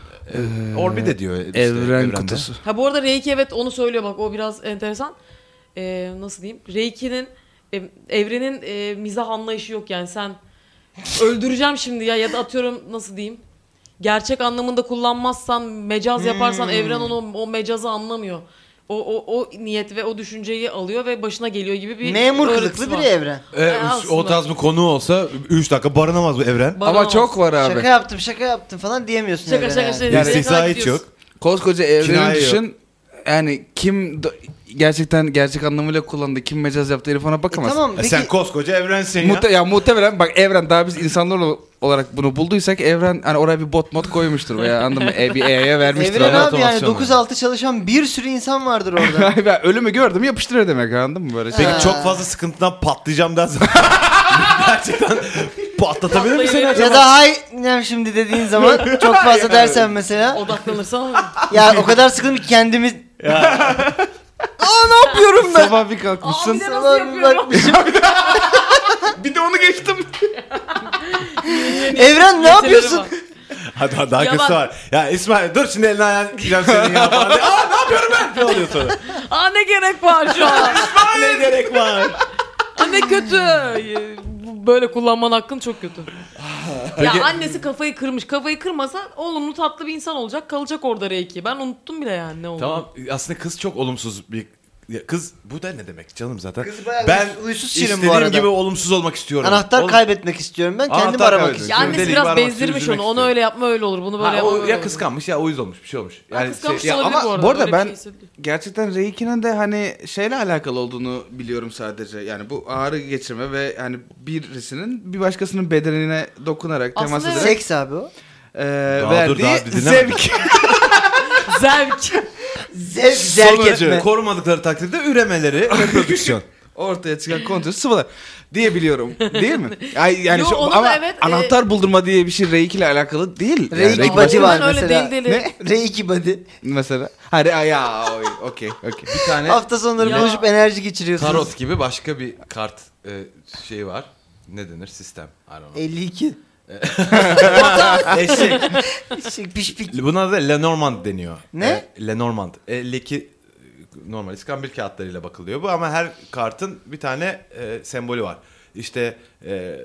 S2: E, Orbide diyor. işte
S5: Evren
S2: evrende.
S5: kutusu.
S3: Ha bu arada Reiki evet onu söylüyor bak o biraz enteresan. Ee, nasıl diyeyim? Reiki'nin e, evrenin e, mizah anlayışı yok yani sen öldüreceğim şimdi ya ya da atıyorum nasıl diyeyim? Gerçek anlamında kullanmazsan, mecaz yaparsan
S4: Hmm.
S3: evren onu o mecazı anlamıyor. O, o, o niyet ve o düşünceyi alıyor ve başına geliyor gibi bir
S4: Memur
S3: öğretisi
S4: kılıklı bir
S3: var.
S4: evren.
S2: E,
S3: E, aslında.
S2: o tarz bir konu olsa 3 dakika barınamaz bu evren. E,
S3: Bana
S5: ama
S3: olmaz.
S5: çok var abi.
S4: Şaka yaptım şaka yaptım falan diyemiyorsun
S3: Şaka
S4: evrene
S3: şaka
S4: yani.
S3: şaka.
S2: Bir
S3: Evrene
S2: istihza
S3: kadar
S2: hiç
S3: gidiyorsun.
S2: yok.
S5: Koskoca evreni
S2: Kinaye yok.
S5: düşün. Yani kim do- gerçekten gerçek anlamıyla kullandı, kim mecaz yaptı herif ona
S4: E
S5: bakamaz.
S4: tamam
S2: E
S4: peki
S2: sen koskoca evrensin ya.
S5: Muhte ya muhtemelen bak evren daha biz insanlar ol- olarak bunu bulduysak evren hani oraya bir bot mod koymuştur veya anladın mı? E, bir AI'ye vermiştir.
S4: evren
S2: ama
S4: abi yani
S2: otomasyonu.
S4: 9-6 çalışan bir sürü insan vardır orada.
S5: Ben ölümü gördüm yapıştırıyor demek anladın mı böyle şey.
S2: Peki *laughs*
S4: Ha.
S2: çok fazla sıkıntıdan patlayacağım dersen. Gerçekten patlatabilir mi seni
S3: *laughs*
S2: acaba?
S4: ya da hay ne şimdi
S2: *laughs*
S4: dediğin zaman çok fazla dersen mesela *laughs*
S3: Odaklanırsan
S4: ya o kadar sıkıldım ki
S3: *laughs*
S4: kendimi
S5: yapıyorum ben? Sabah bir
S2: *laughs*
S5: kalkmışsın.
S3: Abi de nasıl yapıyorum?
S5: bir de onu geçtim.
S4: Evren ne yapıyorsun?
S2: Hadi hadi daha
S3: Ya
S2: kötüsü
S3: bak-
S2: var. Ya İsmail dur şimdi elini ayağını yiyeceğim
S3: *laughs*
S2: senin ya falan. diye. Aa ne yapıyorum ben? Ne oluyor sonra?
S3: Aa ne gerek var şu an?
S2: ne gerek var?
S3: *laughs* Aa ne kötü. Ee, bu- Böyle kullanman hakkın çok kötü.
S2: Peki-
S3: Ya annesi kafayı kırmış. Kafayı kırmasa olumlu tatlı bir insan olacak. Kalacak orada reiki. Ben unuttum bile yani ne oldu.
S2: Tamam aslında kız çok olumsuz bir ya kız bu da ne demek canım zaten.
S4: Kız bayağı
S2: ben
S4: uysuz- uysuz şirin bu
S2: istediğim
S4: arada.
S2: gibi olumsuz olmak istiyorum.
S4: Anahtar
S2: Oğlum-
S4: kaybetmek istiyorum ben. Kendim
S2: Anahtar
S4: aramak
S2: kaybediyor.
S3: Ya
S4: istiyorum.
S3: annesi
S2: Delik
S3: biraz
S2: var ama
S3: bezdirmiş
S2: süründürmek
S3: onu. Onu
S2: istiyor.
S3: öyle yapma öyle olur. Bunu böyle
S2: Ha,
S3: yapma
S2: o
S3: böyle
S2: ya
S3: olur.
S2: kıskanmış ya uyuz olmuş bir şey olmuş.
S3: Ha,
S2: Yani
S3: kıskanmış
S2: şey, ya
S3: olabilir
S5: ama
S3: bu arada.
S5: bu arada
S3: öyle bir
S5: ben-
S3: şey hissediyor.
S5: Gerçekten Reiki'nin de hani şeyle alakalı olduğunu biliyorum sadece. Yani bu ağrı geçirme ve hani birisinin bir başkasının bedenine dokunarak
S3: Aslında
S5: temas
S3: evet.
S5: ederek
S4: Seks abi o.
S5: eee,
S2: Daha dur,
S5: verdiği
S2: daha bir dinlemedim.
S5: zevk. *laughs*
S3: Zevk.
S4: Zevk, zevk
S2: Sonucu
S4: etme.
S2: korumadıkları takdirde üremeleri ve prodüksiyon.
S5: Ortaya çıkan kontrol sıvılar diye biliyorum. Değil mi? Ay, yani
S3: Yo,
S5: şu-
S3: onu da
S5: ama
S3: evet, e-
S5: anahtar buldurma diye bir şey Reiki ile alakalı değil. Yani
S4: Reiki
S5: Reiki
S4: body var
S3: Ben öyle
S4: mesela.
S3: deli deli. Ne?
S4: Reiki body.
S5: mesela. Hadi *laughs* ya
S2: *laughs*
S5: oy, okey okey. Bir tane
S4: Hafta sonları
S3: Ya.
S4: buluşup enerji geçiriyorsunuz.
S2: Tarot gibi başka bir kart e, şeyi var. Ne denir? Sistem. I don't know.
S4: 52.
S5: Ah.
S2: Eşek.
S4: Şey, piş piş.
S2: Buna da Lenormand deniyor.
S4: Ne?
S2: E, Lenormand. Eldeki e, normal iskambil kağıtlarıyla bakılıyor bu ama her kartın bir tane e, sembolü var. İşte e,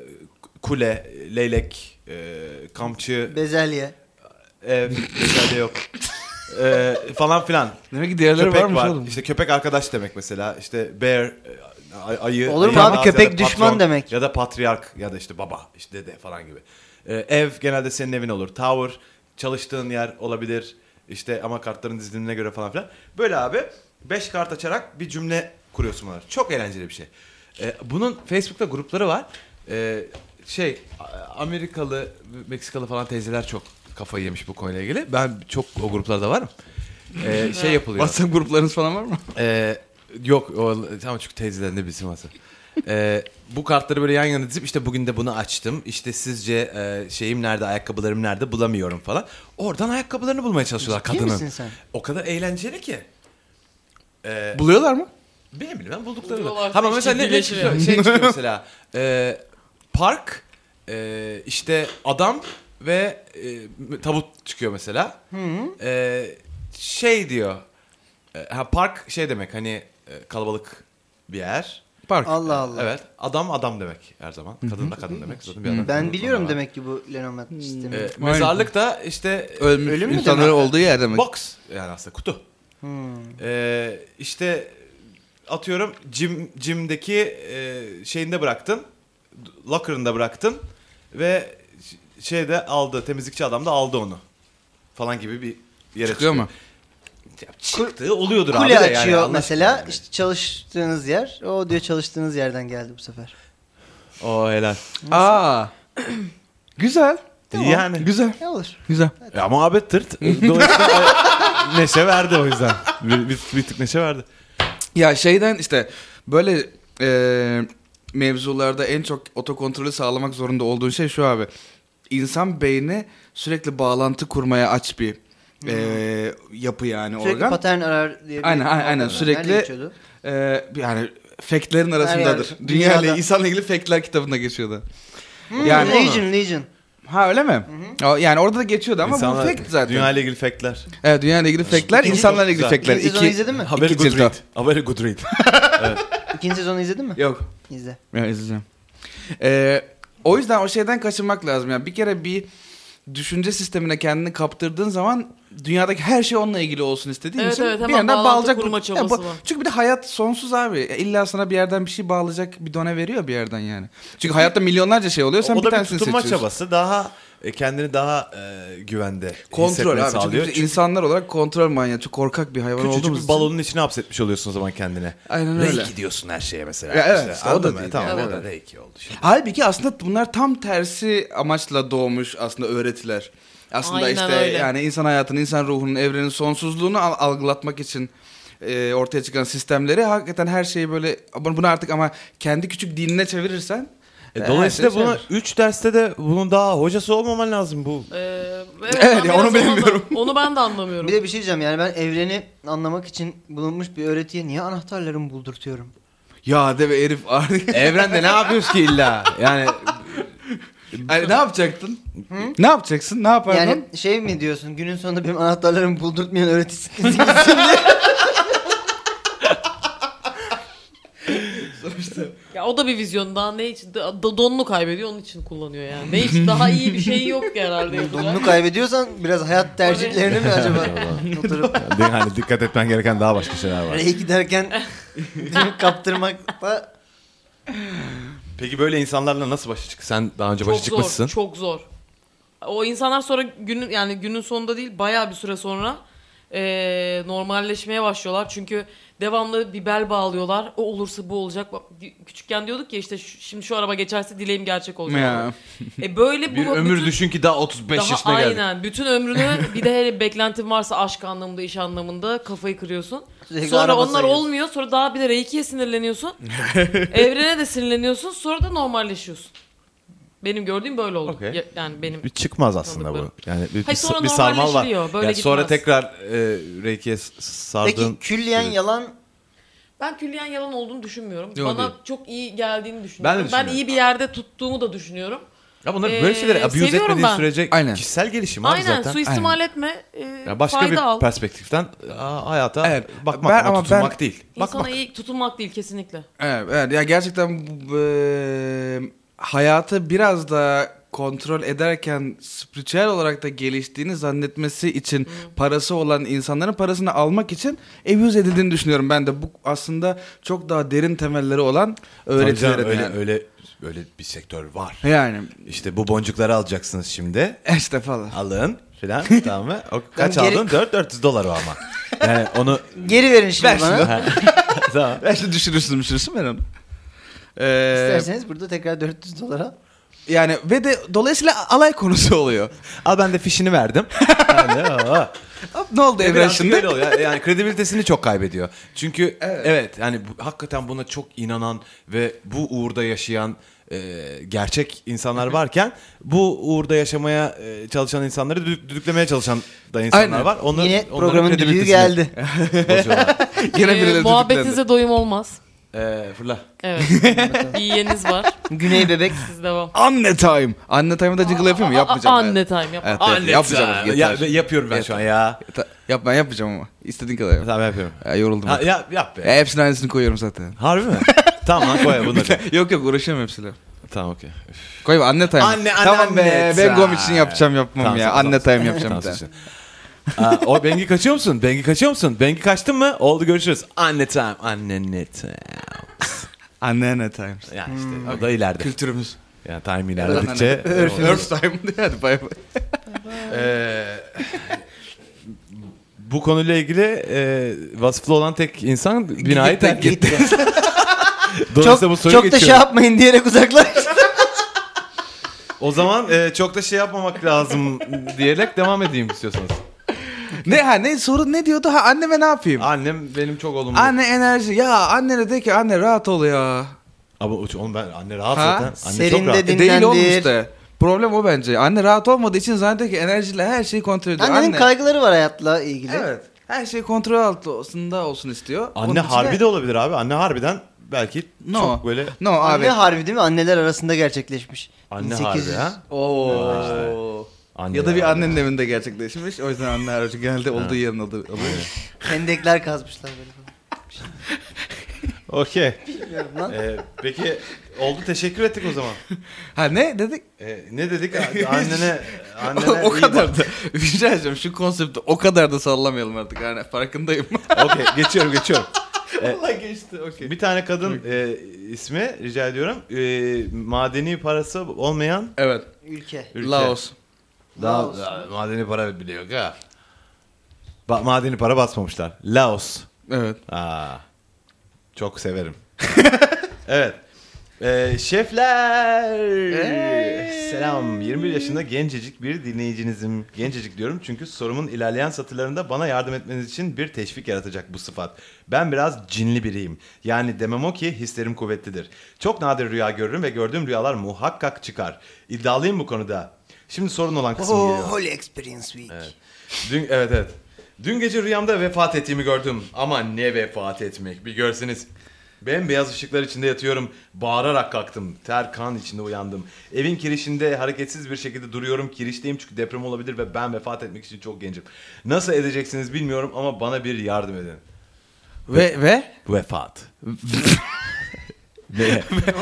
S2: kule, leylek, e, kamçı,
S4: Bezelye.
S2: ev, vesaire şey yok. E, falan filan.
S5: demek ki diğerleri
S2: köpek
S5: varmış
S2: var.
S5: oğlum.
S2: İşte köpek arkadaş demek mesela. İşte bear e, ay- ayı.
S4: Olur mu
S2: ayı
S4: abi?
S2: ya da
S4: Köpek
S2: patron,
S4: düşman demek.
S2: Ya da patriark ya da işte baba, işte dede falan gibi. E, ev genelde senin evin olur. Tower çalıştığın yer olabilir. İşte ama kartların dizilimine göre falan filan. Böyle abi 5 kart açarak bir cümle kuruyorsun bunlar. Çok eğlenceli bir şey. E, bunun Facebook'ta grupları var. E, şey A- Amerikalı, Meksikalı falan teyzeler çok kafayı yemiş bu konuyla ilgili. Ben çok o gruplarda varım. E, şey yapılıyor.
S5: WhatsApp gruplarınız falan var mı?
S2: Ee, yok o, tamam çünkü teyzeden de bizim asıl. Ee, bu kartları böyle yan yana dizip işte bugün de bunu açtım. İşte sizce e, şeyim nerede, ayakkabılarım nerede bulamıyorum falan. Oradan ayakkabılarını bulmaya çalışıyorlar
S4: Ciddi
S2: kadının.
S4: misin sen?
S2: O kadar eğlenceli ki. Ee,
S5: Buluyorlar mı?
S2: benim bilmem buldukları var.
S3: Buluyorlar,
S2: Tamam
S3: hiç
S2: mesela ne, ne
S3: ciddileşmiyor.
S2: çıkıyor? Şey çıkıyor mesela. e, park, e, işte adam ve e, tabut çıkıyor mesela. E, şey diyor. e, ha, park şey demek hani e, kalabalık bir yer.
S5: Park.
S4: Allah Allah.
S2: Evet. Adam adam demek her zaman. Kadın da kadın demek. Zaten bir adam.
S4: Ben biliyorum
S2: Ama-
S4: demek ki bu Lenormand sistemi.
S2: E, mezarlık da işte e,
S5: Ölmüş
S4: Ölüm mü
S5: insanların
S4: demek?
S5: olduğu yer demek. Hmm.
S2: box yani aslında kutu. Ee, işte atıyorum Jim Jim'deki e, şeyinde bıraktın. Locker'ında bıraktın ve ş- şeyde aldı temizlikçi adam da aldı onu falan gibi bir yere
S5: Çıkıyor mu?
S2: Ya Çıktığı oluyordur abi de
S4: Kule
S2: yani
S4: açıyor
S2: Allah
S4: mesela.
S2: aşkına
S4: İşte çalıştığınız yer. O diyor çalıştığınız yerden geldi bu sefer.
S2: yani. O helal.
S5: Aa. *clears throat* güzel.
S2: Yani.
S5: Güzel.
S4: Ne olur.
S5: Güzel.
S2: E Ama abi
S5: *laughs*
S2: tırt. Dolayısıyla e, *laughs* neşe verdi o yüzden. Bir, bir, bir tık neşe verdi.
S5: Ya şeyden işte böyle e, mevzularda en çok otokontrolü sağlamak zorunda olduğun şey şu abi. İnsan beyni sürekli bağlantı kurmaya aç bir e, yapı yani
S4: Sürekli
S5: organ.
S4: patern arar diye bir...
S5: Aynen, aynen, aynen.
S4: Nerede
S5: Sürekli-
S4: geçiyordu?
S5: E, yani fake'lerin arasındadır.
S4: yer,
S5: Dünya ile
S4: dünyada.
S5: insanla ilgili fake'ler kitabında geçiyordu.
S4: Hmm,
S5: Yani-
S4: Legion, Legion.
S5: Ha öyle mi? O, Yani orada da geçiyordu ama bu fake'ti zaten.
S2: Dünya ile ilgili factler.
S5: Evet dünya ile ilgili fake'ler,
S2: İkinci-
S5: insanlarla ilgili
S2: Güzel.
S5: fake'ler.
S4: İkinci sezonu izledin mi?
S2: A very
S5: İki
S2: good
S5: cilt o.
S2: read. A very good read.
S4: İkinci sezonu izledin mi?
S5: Yok.
S4: İzle.
S5: Ya izleyeceğim. Ee, o yüzden o şeyden kaçınmak lazım. Yani bir kere bir düşünce sistemine kendini kaptırdığın zaman dünyadaki her şey onunla ilgili olsun istediğin
S3: Evet,
S5: için
S3: evet,
S5: bir
S3: hemen
S5: yerden
S3: bağlantı
S5: bağlayacak.
S3: kurma
S5: Ya
S3: çabası
S5: bu-
S3: var.
S5: Çünkü bir de hayat sonsuz abi. E, İlla sana bir yerden bir şey bağlayacak bir done veriyor bir yerden yani. Çünkü hayatta milyonlarca şey oluyor. Sen
S2: o
S5: bir
S2: da bir
S5: tanesini
S2: tutunma
S5: seçiyorsun.
S2: çabası. Daha e, kendini daha e, güvende
S5: Kontrol
S2: hissetmeni
S5: abi. Çünkü
S2: sağlıyor.
S5: biz
S2: Çünkü
S5: insanlar olarak kontrol manyağı. Çok korkak bir hayvan
S2: küçücük
S5: olduğumuz
S2: bir balonun içine hapsetmiş oluyorsun o zaman kendine.
S5: Aynen öyle.
S2: Reiki diyorsun her şeye mesela.
S5: Ya evet,
S2: İşte,
S5: işte o
S2: anladın
S5: da
S2: mı?
S5: değil.
S2: Tamam
S5: Evet.
S2: o da reiki oldu. Şimdi.
S5: Halbuki aslında bunlar tam tersi amaçla doğmuş aslında öğretiler. Aslında
S3: Aynen
S5: işte
S3: öyle.
S5: yani insan hayatının, insan ruhunun, evrenin sonsuzluğunu al- algılatmak için e, ortaya çıkan sistemleri hakikaten her şeyi böyle bunu bunu artık ama kendi küçük dinine çevirirsen
S2: E,
S5: e,
S2: dolayısıyla
S5: her şey
S2: bunu
S5: çevir.
S2: 3 derste de bunun daha hocası olmaman lazım bu.
S5: *laughs*
S3: Ee, evet,
S2: *laughs*
S5: Evet,
S3: ben
S5: ya
S3: biraz
S5: onu
S3: ona da-
S5: bilemiyorum.
S3: *laughs* onu ben de anlamıyorum.
S4: Bir de bir şey diyeceğim yani ben evreni anlamak için bulunmuş bir öğretiye niye anahtarlarımı buldurtuyorum?
S5: *laughs* ya deve herif artık
S2: Evrende ne yapıyoruz ki illa? Yani
S5: Hani ne yapacaktın? Ne yapacaksın? Ne yapardın?
S4: Yani şey mi diyorsun günün sonunda benim anahtarlarımı buldurtmayan öğretisi
S5: *laughs*
S3: Ya o da bir vizyon daha ne için da- da- donunu kaybediyor onun için kullanıyor yani. Ne için daha iyi bir şey yok ki herhalde. yapacak.
S4: Donunu kaybediyorsan biraz hayat tercihlerini mi acaba oturup
S1: hani dikkat etmen gereken daha başka şeyler var.
S4: oraya giderken kaptırmakla
S2: Peki böyle insanlarla nasıl başa çık? Sen daha önce başa
S3: çok
S2: çıkmışsın.
S3: zor, çok zor. O insanlar sonra günün yani günün sonunda değil bayağı bir süre sonra eee, normalleşmeye başlıyorlar. Çünkü devamlı bir bel bağlıyorlar. O olursa bu olacak. Bak, Küçükken diyorduk ya işte şu- şimdi şu araba geçerse dileğim gerçek olacak.
S5: Ya.
S3: E böyle bu
S2: Bir ömür
S3: bütün-
S2: düşün ki daha 35
S3: daha
S2: yaşına geldin.
S3: aynen bütün ömrünü bir de hele beklentin varsa aşk anlamında iş anlamında kafayı kırıyorsun.
S4: Sürekli
S3: sonra
S4: araba
S3: onlar
S4: sayıyorsun.
S3: olmuyor. Sonra daha bir de reikiye
S2: *laughs*
S3: sinirleniyorsun. Evrene de sinirleniyorsun. Sonra da normalleşiyorsun. Benim gördüğüm böyle oldu.
S2: Okey.
S3: Ya- Yani benim
S1: Bir çıkmaz aslında bu. Yani bir,
S3: Hayır,
S1: bir,
S3: sonra
S1: bir sarmal var.
S3: normalleşiliyor. Böyle
S2: Ya
S3: gitmez.
S2: sonra tekrar e, Reiki'ye s- sardığın...
S4: Peki külliyen
S2: Evet.
S4: yalan
S3: Ben külliyen yalan olduğunu düşünmüyorum.
S2: Yok,
S3: Bana
S2: değil.
S3: çok iyi geldiğini düşünüyorum. Ben,
S2: düşünüyorum.
S3: iyi bir yerde tuttuğumu da düşünüyorum.
S2: Ya bunlar
S3: Ee,
S2: böyle şeyleri abuse
S3: seviyorum
S2: etmediğin
S3: ben.
S2: sürece
S5: Aynen.
S2: kişisel gelişim abi
S3: Aynen
S2: zaten.
S3: suistimal etme. e,
S2: Ya başka
S3: fayda
S2: bir
S3: al.
S2: perspektiften aa, hayata
S5: Evet,
S2: bakmak
S5: ben-
S2: ama,
S5: ama ben-
S2: tutunmak değil.
S3: İnsana iyi tutunmak değil kesinlikle.
S5: Evet, evet. Ya gerçekten bu- eee, hayatı biraz da kontrol ederken spiritüel olarak da geliştiğini zannetmesi için parası olan insanların parasını almak için abuse edildiğini düşünüyorum ben de. Bu aslında çok daha derin temelleri olan
S2: Tabii canım,
S5: öğretilerin
S2: öyle,
S5: yani.
S2: öyle, öyle bir sektör var.
S5: Yani
S2: İşte bu boncukları alacaksınız şimdi.
S5: işte falan.
S2: Alın filan
S4: *laughs*
S2: tamam mı? O kaç
S4: Yani geri-
S2: aldın? 4 400 dolar o ama. Yani
S4: *laughs*
S2: onu
S4: geri verin şimdi
S5: Ver
S4: bana.
S5: şunu.
S2: tamam.
S5: *laughs* Ben işte düşürürsün düşürürsün ben onu. Eee,
S4: İsterseniz burada tekrar 400 dolara.
S5: yani ve de dolayısıyla alay konusu oluyor.
S2: Al ben de fişini verdim. *laughs* Yani, aa.
S5: Hop, ne oldu Evren
S2: Birazcık
S5: şimdi?
S2: öyle oluyor. Yani kredibilitesini çok kaybediyor. Çünkü evet, yani bu- hakikaten buna çok inanan ve bu uğurda yaşayan e, gerçek insanlar varken bu uğurda yaşamaya e, çalışan insanları düdük- düdüklemeye çalışan da insanlar
S5: Aynen.
S2: var. Onlar,
S4: Yine
S2: onların
S4: programın düdüğü
S2: kredibilitesini *laughs*
S4: geldi.
S2: bozuyorlar.
S5: Yine
S3: Ee,
S5: birileri tutuklandı.
S3: muhabbetinize doyum olmaz.
S2: e, fırla. *laughs*
S3: Evet. Yiyeniz var.
S4: Güney bebek.
S3: Siz devam.
S5: Anne time. Anne time'ı da jiggle yapayım mı? Yapmayacağım.
S3: A-
S5: ben.
S3: anne time yap.
S5: Evet, evet,
S2: Anne
S5: yapacağım.
S2: ya,
S5: Yeter.
S2: yapıyorum ben şu an ya.
S5: Ta- Yap ben yapacağım ama. İstediğin kadar yap.
S2: Tamam yapıyorum.
S5: Ya, yoruldum.
S2: Ha,
S5: artık.
S2: ya, yap be.
S5: Ya, hepsinin aynısını koyuyorum zaten.
S2: Harbi mi? *laughs* tamam lan koy *laughs* bunları.
S5: *laughs* yok yok uğraşamam hepsiyle.
S2: tamam okey.
S5: Koy be, anne time.
S2: Anne, anne,
S5: tamam be
S2: anne
S5: ben
S2: time.
S5: gom için yapacağım yapmam
S2: Tamam,
S5: ya.
S2: tamam,
S5: anne
S2: tamam.
S5: time yapacağım bir
S2: Tamam,
S5: daha.
S2: suçlu. Aa, o Bengi kaçıyor musun? Bengi kaçıyor musun? Bengi kaçtın mı? Oldu görüşürüz. Anne time. Anne ne time.
S5: Anne anne time.
S2: Ya işte o da ileride.
S5: Kültürümüz.
S2: Yani time ilerledikçe.
S5: Hmm, *laughs* Örf, örf time. Hadi bay bay.
S2: Ee, bu konuyla ilgili e, vasıflı olan tek insan binayı terk etti. *laughs*
S4: Çok,
S2: Dolayısıyla bu soruyu
S4: çok da şey
S2: geçiyorum.
S4: yapmayın diyerek uzaklaş.
S2: O zaman e, çok da şey yapmamak lazım diyerek devam edeyim istiyorsanız.
S5: ne ha ne sorun ne diyordu? Ha anneme ne yapayım?
S2: Annem benim çok olumlu.
S5: Anne enerji. Ya annene de ki anne rahat ol ya.
S2: Ama oğlum ben anne rahat
S5: Ha?
S2: zaten. Anne çok
S4: Serin
S2: rahat.
S4: dedi.
S5: E, Değil olmuş
S4: Dinlendir.
S5: işte. Problem o bence. Anne rahat olmadığı için zannediyor ki enerjiyle her şeyi kontrol ediyor.
S4: Annenin
S5: Anne-
S4: kaygıları var hayatla ilgili.
S5: Evet. Her şey kontrol altında olsun istiyor.
S2: Anne harbi de olabilir abi. Anne harbiden belki
S5: No.
S2: çok böyle
S5: No
S4: Anne
S5: abi.
S4: harbi değil mi? Anneler arasında gerçekleşmiş.
S2: Anne
S4: 1800.
S2: harbi ha?
S5: Oo.
S2: Anne
S5: Ya da bir
S2: harbi.
S5: annenin evinde gerçekleşmiş. O yüzden anne harbi geldi olduğu yerin adı. adı.
S4: Hendekler kazmışlar böyle falan.
S2: Okey.
S4: Bilmiyorum lan.
S2: Ee, peki oldu teşekkür ettik o zaman.
S5: ha ne dedik?
S2: Ee, ne dedik? A-
S5: *laughs*
S2: Annene annene
S5: o
S2: iyi
S5: kadar da. *laughs* Rica edeceğim şu konsepti o kadar da sallamayalım artık. Yani farkındayım. *laughs*
S2: bak. Okey geçiyorum geçiyorum. Ee,
S5: Allah geçti. Okey.
S2: Bir tane kadın e, ismi rica ediyorum. E, madeni parası olmayan
S5: Evet.
S4: Ülke.
S2: ülke.
S5: Laos.
S2: Daha,
S4: Laos.
S2: daha madeni para bile yok ha. Ba- madeni para basmamışlar. Laos.
S5: Evet.
S2: Aa, çok severim. evet. Ee, şefler. Selam. 21 yaşında gencecik bir dinleyicinizim. Gencecik diyorum çünkü sorumun ilerleyen satırlarında bana yardım etmeniz için bir teşvik yaratacak bu sıfat. Ben biraz cinli biriyim. Yani demem o ki hislerim kuvvetlidir. Çok nadir rüya görürüm ve gördüğüm rüyalar muhakkak çıkar. İddialıyım bu konuda. Şimdi sorun olan kısım
S4: Oh,
S2: geliyor.
S4: Holy Experience Week.
S2: Dün evet evet. Dün gece rüyamda vefat ettiğimi gördüm. Ama ne vefat etmek bir görseniz. Bembeyaz ışıklar içinde yatıyorum. Bağırarak kalktım. Ter kan içinde uyandım. Evin kirişinde hareketsiz bir şekilde duruyorum. Kirişteyim çünkü deprem olabilir ve ben vefat etmek için çok gencim. Nasıl edeceksiniz bilmiyorum ama bana bir yardım edin.
S5: Ve ve
S2: Vefat.
S5: *laughs*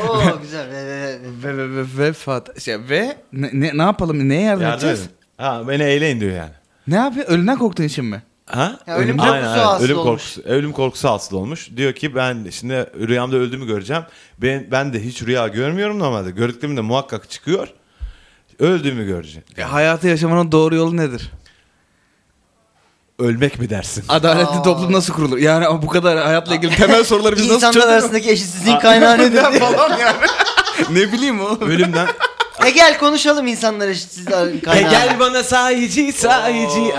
S4: Oo güzel. Ve- ve- ve-
S5: ve ve ve vefat şey, ve ne, ne, ne yapalım neye yardım
S2: Yardım
S5: edeceğiz?
S2: edin. Ha beni eğleyin diyor yani.
S5: Ne yapıyor? Ölünden korktuğun için mi?
S2: Ha?
S4: Ya ölüm korkusu hasıl
S2: ölüm
S4: olmuş.
S2: korkusu, ölüm korkusu hasıl olmuş. Diyor ki ben şimdi rüyamda öldüğümü göreceğim. Ben, ben de hiç rüya görmüyorum normalde. Gördüklerim de muhakkak çıkıyor. Öldüğümü göreceğim.
S5: E, hayatı yaşamanın doğru yolu nedir?
S2: Ölmek mi dersin?
S5: Adaletli
S4: Aa.
S5: toplum nasıl kurulur? Yani ama bu kadar hayatla ilgili temel soruları biz nasıl
S4: İnsanlar
S5: çözeriz?
S4: arasındaki eşitsizliğin
S5: *laughs*
S4: kaynağı nedir?
S5: falan yani. ne bileyim
S2: *laughs*
S4: *laughs*
S5: oğlum.
S2: Ölümden
S4: e gel konuşalım insanlar eşitsizliğin
S5: E
S4: kaynağı.
S7: bana sahici sahici.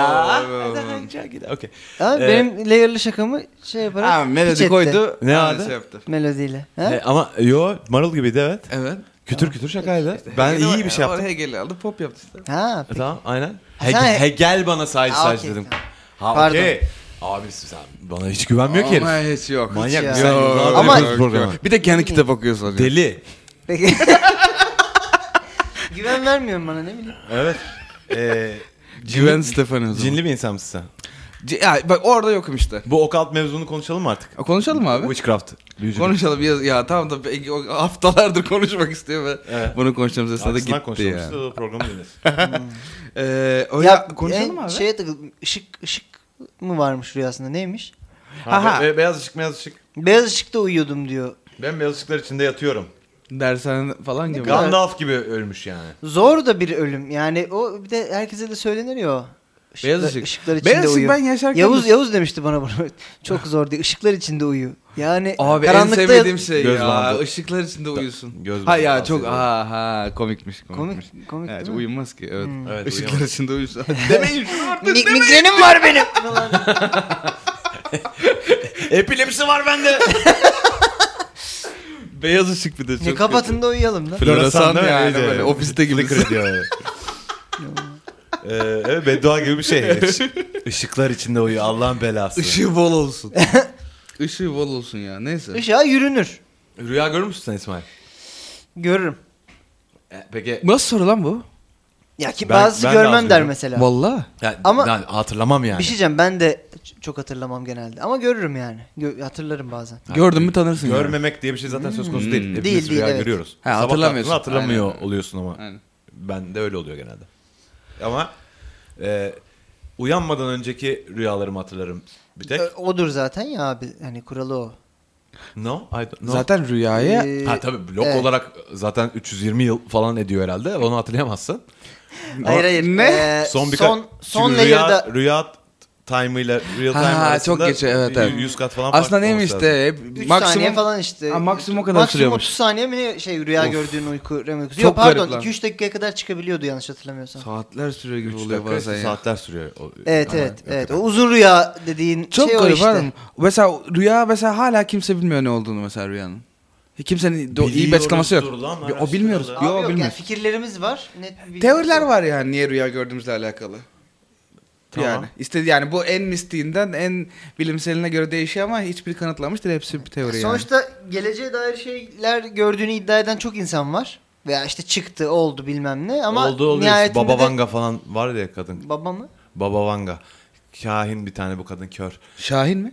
S2: Okey.
S4: Ha,
S2: Ee,
S4: benim layer'lı şakamı şey yaparak
S5: Ha,
S4: piç
S5: melodi
S4: etti.
S5: koydu.
S2: Ne
S5: Ha,
S2: vardı?
S5: şey yaptı.
S4: Melodiyle. Ha?
S2: E, ama yo marul gibiydi evet.
S5: Evet.
S2: Kütür kütür şakaydı. Ben
S5: Hegel'e
S2: iyi
S5: bak-
S2: bir şey yaptım.
S5: Oraya Hegel'i aldı pop yaptı işte.
S4: ha.
S2: E, Tamam aynen.
S4: Sen-
S7: Hegel, Hegel bana sahici
S4: Aa,
S7: sahici
S4: okey,
S7: dedim.
S4: tamam.
S7: Ha
S4: Pardon.
S7: okey. Abi sen bana hiç güvenmiyor ki herif.
S5: Ama hiç yok.
S2: Manyak
S4: ya.
S2: mısın?
S5: şey. Yok,
S2: Sen yıllardır
S4: Ama-
S2: yapıyoruz programı.
S5: Bir de kendi kitap okuyorsun.
S7: Deli.
S4: *laughs* Peki. Güven vermiyorsun bana ne bileyim.
S2: Evet.
S4: Ee,
S2: E,
S5: Güven Stefani o zaman.
S2: cinli bir insan mısın sen?
S5: C- ya, bak orada yokum işte.
S2: Bu okalt mevzunu konuşalım mı artık?
S5: Ha, Konuşalım mı abi.
S2: Witchcraft. Büyücülük.
S5: Konuşalım ya, ya tamam da peki, o haftalardır *laughs* konuşmak istiyor ve
S2: Evet.
S5: bunu konuşacağımız esnada
S2: Arkasından
S5: gitti
S2: konuşalım.
S5: ya.
S2: Siz de o programı
S5: *laughs*
S2: dinlesin.
S5: Ee, öyle
S4: Ya,
S5: konuşalım
S4: e,
S5: abi.
S4: Şeye takıldım. Işık, ışık mı varmış rüyasında neymiş?
S5: Aha.
S2: Ha, be- be- beyaz ışık beyaz ışık.
S4: Beyaz ışıkta uyuyordum diyor.
S2: Ben beyaz ışıklar içinde yatıyorum.
S5: Dershane falan gibi.
S4: kadar-
S2: Gandalf gibi ölmüş
S5: *laughs*
S2: yani.
S4: Zor da bir ölüm. Yani o bir de herkese de söylenir ya o. Işıklar-
S5: Beyaz ışık.
S4: ışıklar içinde
S5: Beyaz ışık
S4: uyu.
S5: ben yaşarken...
S4: Yavuz Yavuz demişti bana bunu. *laughs* Çok zor diyor. Işıklar içinde uyu. Yani
S5: Abi
S4: karanlıkta
S5: en
S4: yat-
S5: sevmediğim şey
S2: Göz
S5: ya.
S2: bandı.
S5: Işıklar içinde uyusun.
S2: Göz
S5: ha ya
S2: bandı
S5: çok
S2: tavsiye
S5: ha ha komikmiş komikmiş.
S4: komik komik
S5: Evet,
S4: değil mi? Hmm.
S5: uyumaz ki evet.
S2: Evet,
S5: Işıklar
S2: uyuyamaz. *laughs*
S5: içinde uyusun. Demeyin şunu artık.
S4: Mi- migrenim var benim. falan.
S2: Epilepsi var *laughs* bende.
S5: Beyaz ışık bir de çok
S4: Ya kapatın da uyuyalım da.
S5: Floresan
S2: *laughs* Floresan
S5: yani
S2: öyle.
S5: böyle ofiste gibi.
S2: Flicker ediyor.
S5: *laughs*
S2: öyle. ee, evet beddua gibi bir şey. *laughs* Işıklar içinde uyu Allah'ın belası.
S5: Işığı bol olsun. *laughs* Işığı bol olsun ya neyse.
S4: Işığa yürünür.
S7: Rüya görür müsün sen İsmail?
S4: Görürüm.
S7: E, Peki
S5: Nasıl soru lan bu?
S4: Ya ki
S2: Ben-
S4: bazısı
S2: ben de az
S4: görmem der
S2: görüyorum.
S4: mesela.
S5: Valla.
S7: yani,
S4: Ama-
S7: yani hatırlamam yani.
S4: Bir şey diyeceğim ben de ç- çok hatırlamam genelde ama görürüm yani. Gö- hatırlarım bazen.
S5: Gördün mü tanırsın ya.
S2: Görmemek diye bir şey zaten söz konusu değil. Hepimiz
S4: Hmm. Değil, değil,
S2: rüya
S4: evet.
S2: görüyoruz.
S5: Ha,
S2: Sabah
S5: hatırlamıyorsun.
S2: kalktığında hatırlamıyor
S5: Aynen.
S2: oluyorsun ama.
S5: Aynen.
S2: Ben de öyle oluyor genelde. Ama e, uyanmadan önceki rüyalarımı hatırlarım bir tek.
S4: Ö- Odur zaten ya abi hani kuralı o.
S2: No, I don't, no.
S5: Zaten rüyaya
S4: Ee,
S7: Ha tabii blok
S4: Evet.
S7: olarak zaten 320 yıl falan ediyor herhalde. Onu hatırlayamazsın.
S4: hayır hayır.
S5: Ne?
S4: Ee,
S2: son
S4: son
S2: birkaç
S4: son,
S2: Çünkü
S4: layer'da
S2: rüya, rüya time'ıyla real time
S5: Ha,
S2: arasında
S5: çok geçiyor, evet,
S2: y-
S5: evet.
S2: 100 kat falan
S5: aslında
S2: fark
S5: neymiş
S2: olması
S5: de hep
S4: 3
S5: maksimum
S4: saniye falan işte.
S5: Ha, maksimum o kadar
S4: maksimum
S5: sürüyormuş.
S4: 30 saniye mi ne şey rüya
S5: Of.
S4: gördüğün uyku REM uykusu.
S5: Çok
S4: Yok
S5: garip
S4: pardon
S5: lan.
S4: 2-3 dakikaya kadar çıkabiliyordu yanlış hatırlamıyorsam.
S5: saatler sürüyor
S2: Üç
S5: gibi oluyor
S2: dakika,
S5: bazen
S2: işte
S5: ya.
S2: Saatler sürüyor. O-
S4: Evet
S2: Aynen,
S4: evet evet. O
S2: hakikaten.
S4: uzun rüya dediğin
S5: Çok
S4: şey o
S5: garip
S4: işte.
S5: var mı? Mesela rüya mesela hala kimse bilmiyor ne olduğunu mesela rüyanın. Kimsenin do- iyi bir açıklaması yok.
S2: Biliyoruzdur lan,
S5: Ya, o
S2: araştırıyorlar.
S5: bilmiyoruz.
S4: Abi
S5: yok,
S4: yok yani
S5: bilmiyoruz.
S4: fikirlerimiz var. Net bir şey
S5: Teoriler var yani niye rüya gördüğümüzle alakalı.
S2: Tamam.
S5: Yani istedi yani bu en mistiğinden en bilimseline göre değişiyor ama hiçbiri kanıtlamıştır hepsi bir teori yani.
S4: Sonuçta geleceğe dair şeyler gördüğünü iddia eden çok insan var. Veya işte çıktı oldu bilmem ne ama
S2: oldu oluyor.
S4: nihayetinde
S2: Baba
S4: de-
S2: Vanga falan var ya kadın.
S4: Baba mı?
S2: Baba Vanga. Kahin bir tane bu kadın kör.
S5: Şahin mi?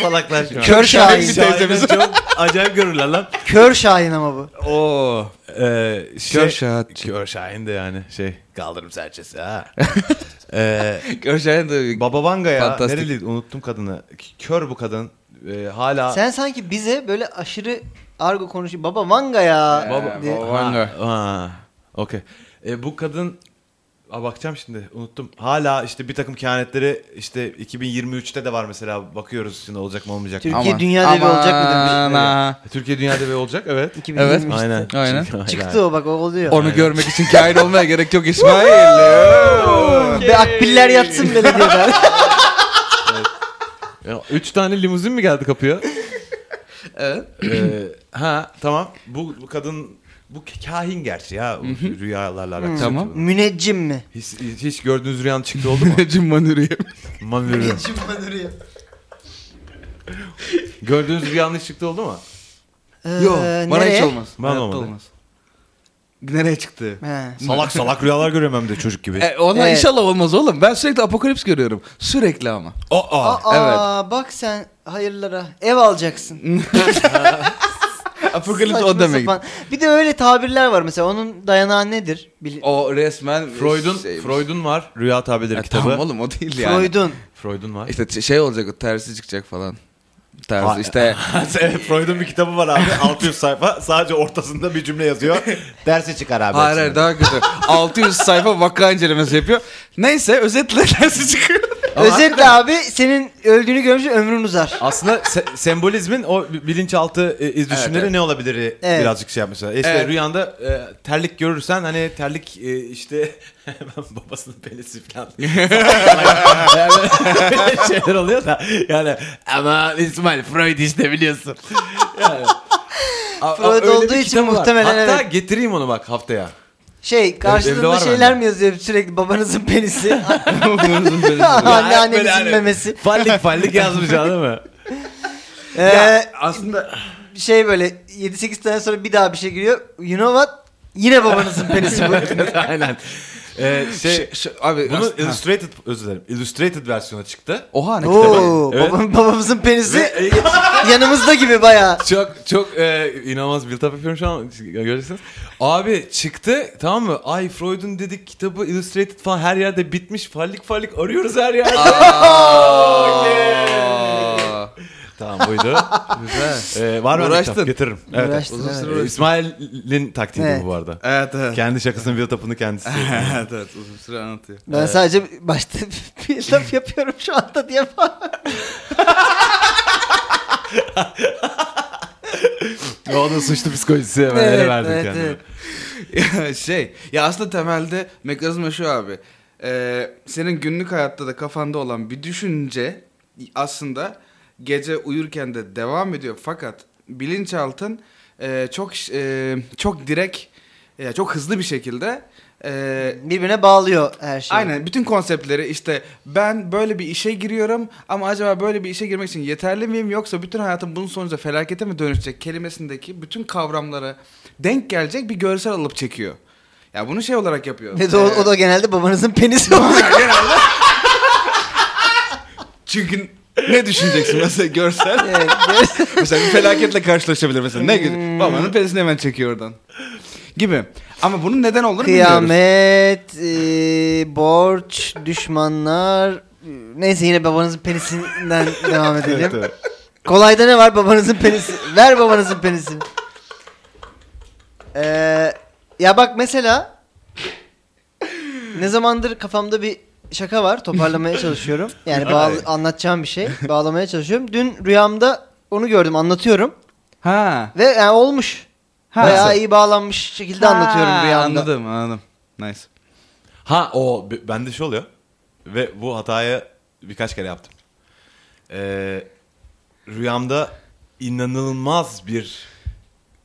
S2: Salaklar şu an.
S4: Kör Şahin.
S5: Şahin. teyzemiz.
S2: çok acayip görürler lan.
S4: Kör Şahin ama bu.
S5: Oo.
S2: Ee, şey,
S5: Kör Şahatçı.
S2: Kör Şahin de yani şey. Kaldırım serçesi ha. ee,
S5: Kör Şahin de
S2: Baba Vanga ya.
S5: Fantastik.
S2: Nereliydi unuttum kadını. K- Kör bu kadın. Ee, hala.
S4: Sen sanki bize böyle aşırı argo konuşuyor. Baba Vanga ya.
S5: Baba-
S4: diye.
S5: Baba-
S2: Ha,
S5: Vanga.
S2: ha, Okey. E, bu kadın Aa, bakacağım şimdi unuttum. Hala işte bir takım kehanetleri işte 2023'te de var mesela bakıyoruz şimdi olacak mı olmayacak mı?
S4: Türkiye dünya devi olacak mı demiş.
S5: Aman ha.
S2: Türkiye dünya devi olacak evet.
S4: 2023'te.
S2: Aynen.
S5: Aynen.
S2: Çünkü-
S4: Çıktı o bak o oluyor.
S5: Onu görmek için kain olmaya gerek
S4: *laughs*
S5: yok İsmail.
S4: Be akbiller yatsın belediyeden.
S2: Ya, üç tane limuzin mi geldi kapıya?
S5: *laughs* evet.
S2: Ee, ha tamam. Bu, bu kadın bu kahin gerçi ya bu rüyalarla alakalı.
S5: Tamam.
S4: Müneccim mi?
S2: Hiç, hiç gördüğünüz rüyanın çıktı
S5: *laughs*
S2: oldu mu?
S5: Cim manürüye.
S2: Aman veririm.
S4: Müneccim ben duruyor.
S2: Gördüğünüz bir yanlışlıkta oldu mu?
S4: Ee,
S5: Yok bana hiç
S4: nereye?
S5: olmaz.
S6: Ben
S5: Hayatta
S6: olmadı.
S5: Nereye çıktı?
S4: He.
S1: Salak salak rüyalar görüyorum hem de çocuk gibi.
S5: E, ona
S4: Evet.
S5: inşallah olmaz oğlum. Ben sürekli apokalips görüyorum. Sürekli ama.
S4: Aa,
S5: evet.
S4: bak sen hayırlara ev alacaksın.
S2: *laughs*
S5: apokalips o
S4: Saçma
S5: demek.
S4: sapan. Bir de öyle tabirler var mesela onun dayanağı nedir? Bil-
S5: O resmen
S2: Freud'un
S5: şeymiş.
S2: Freud'un var.
S1: Rüya tabirleri
S5: Ya
S1: kitabı.
S5: şey- E, Tamam oğlum o değil yani.
S4: Freud'un.
S2: Freud'un var.
S5: İşte şey olacak o tersi çıkacak falan. Tersi *laughs* işte
S1: *laughs* Evet, Freud'un bir kitabı var
S2: *laughs*
S1: abi 600 sayfa sadece ortasında bir cümle yazıyor. Dersi çıkar abi.
S5: Hayır hayır daha kötü. *laughs* 600 sayfa vaka incelemesi yapıyor. Neyse özetle *laughs* tersi çıkıyor.
S4: Özetle abi senin öldüğünü görmüş ömrün uzar.
S2: Aslında se- sembolizmin o bilinçaltı e,
S1: Düşünleri
S2: iz düşümleri e,
S1: ne olabilir
S4: Evet.
S1: birazcık şey yapmışlar. İşte
S5: Evet.
S2: rüyanda e, terlik görürsen hani terlik e, işte *laughs* ben babasının pelesi falan. Böyle şeyler oluyor da yani ama İsmail Freud işte biliyorsun. Yani, a- a-
S4: Freud
S2: öyle
S5: *laughs*
S2: bir
S4: olduğu için
S2: kitabı var.
S4: muhtemelen
S2: Hatta
S4: evet.
S2: getireyim onu bak haftaya.
S4: Şey
S2: evde
S4: karşılığında
S2: var
S4: şeyler
S2: bende.
S4: mi yazıyor sürekli babanızın
S2: *laughs*
S4: penisi,
S2: Böyle
S4: anneannenizin
S2: hani-
S4: memesi.
S2: Fallik fallik yazmayacağım değil mi?
S4: Ee,
S5: Aslında
S4: şey böyle 7-8 tane sonra bir daha bir şey giriyor. You know what? Yine babanızın
S2: *laughs*
S4: penisi bu.
S2: Aynen. Ee, şey,
S5: Şey- şey- abi
S2: Bunun
S5: aslında- Ha.
S2: illustrated özür dilerim. Illustrated versiyonu çıktı.
S5: Oha ne kitabı?
S4: Oo,
S2: Evet.
S4: babam- babamızın penisi
S2: Ve-
S4: yanımızda gibi baya.
S2: çok çok e, inanılmaz build up yapıyorum şu an göreceksiniz. Abi çıktı tamam mı? Ay Freud'un dedik kitabı illustrated falan her yerde bitmiş. Fallik fallik arıyoruz her yerde.
S5: *laughs* Aa,
S2: tamam *laughs* buydu.
S5: Güzel.
S2: Ee, var mı? öyle
S5: Uğraştın.
S2: kitap? Getiririm. Evet.
S4: Uğraştın,
S5: uzun
S4: evet.
S5: süre
S2: Ee, İsmail'in taktiğiydi
S4: Evet.
S2: bu bu arada.
S5: Evet evet.
S1: kendi şakasının build up'ını kendisi.
S5: *laughs* evet evet uzun süre anlatıyor.
S4: Ben sadece başta *laughs*
S2: *laughs*
S4: bir laf yapıyorum şu anda diye falan.
S2: *laughs* o da suçlu psikolojisi hemen ele verdim kendime.
S5: Ya *laughs* şey ya aslında temelde mekanizma şu abi. Ee, senin günlük hayatta da kafanda olan bir düşünce aslında gece uyurken de devam ediyor fakat bilinçaltın e, çok ş- e, çok direkt ya çok hızlı bir şekilde e,
S4: Birbirine bağlıyor her şey. şeyi.
S5: Aynen bütün konseptleri işte ben böyle bir işe giriyorum ama acaba böyle bir işe girmek için yeterli miyim yoksa bütün hayatım bunun sonucunda felakete mi dönüşecek kelimesindeki bütün kavramlara denk gelecek bir görsel alıp çekiyor. Ya bunu şey olarak yapıyor.
S4: Ve de o,
S5: Ee,
S4: o da genelde
S2: *laughs*
S4: babanızın penisi oluyor.
S5: *laughs* Çünkü ne düşüneceksin mesela görsel?
S4: *laughs* Evet.
S5: *laughs*
S4: Hmm.
S5: mesela bir felaketle karşılaşabilir mesela. Ne gibi? Babanın penisini hemen çekiyor oradan. Gibi. Ama bunun neden olduğunu bilmiyoruz.
S4: Kıyamet, e, borç, düşmanlar. Neyse yine babanızın
S5: *laughs*
S4: penisinden devam edelim. Kolayda ne var babanızın penisi? Ver babanızın penisini. Ee, ya bak mesela ne zamandır kafamda bir şaka var. Toparlamaya çalışıyorum. Yani bağlı, anlatacağım bir şey. Bağlamaya çalışıyorum. Dün rüyamda onu gördüm. Anlatıyorum.
S5: Ha.
S4: Ve yani olmuş.
S5: Ha.
S4: Bayağı iyi bağlanmış şekilde anlatıyorum
S5: Ha,
S4: rüyamda.
S5: Anladım anladım. Nice.
S1: Ha o b- bende şey oluyor. Ve bu hatayı birkaç kere yaptım. Ee,
S2: rüyamda inanılmaz bir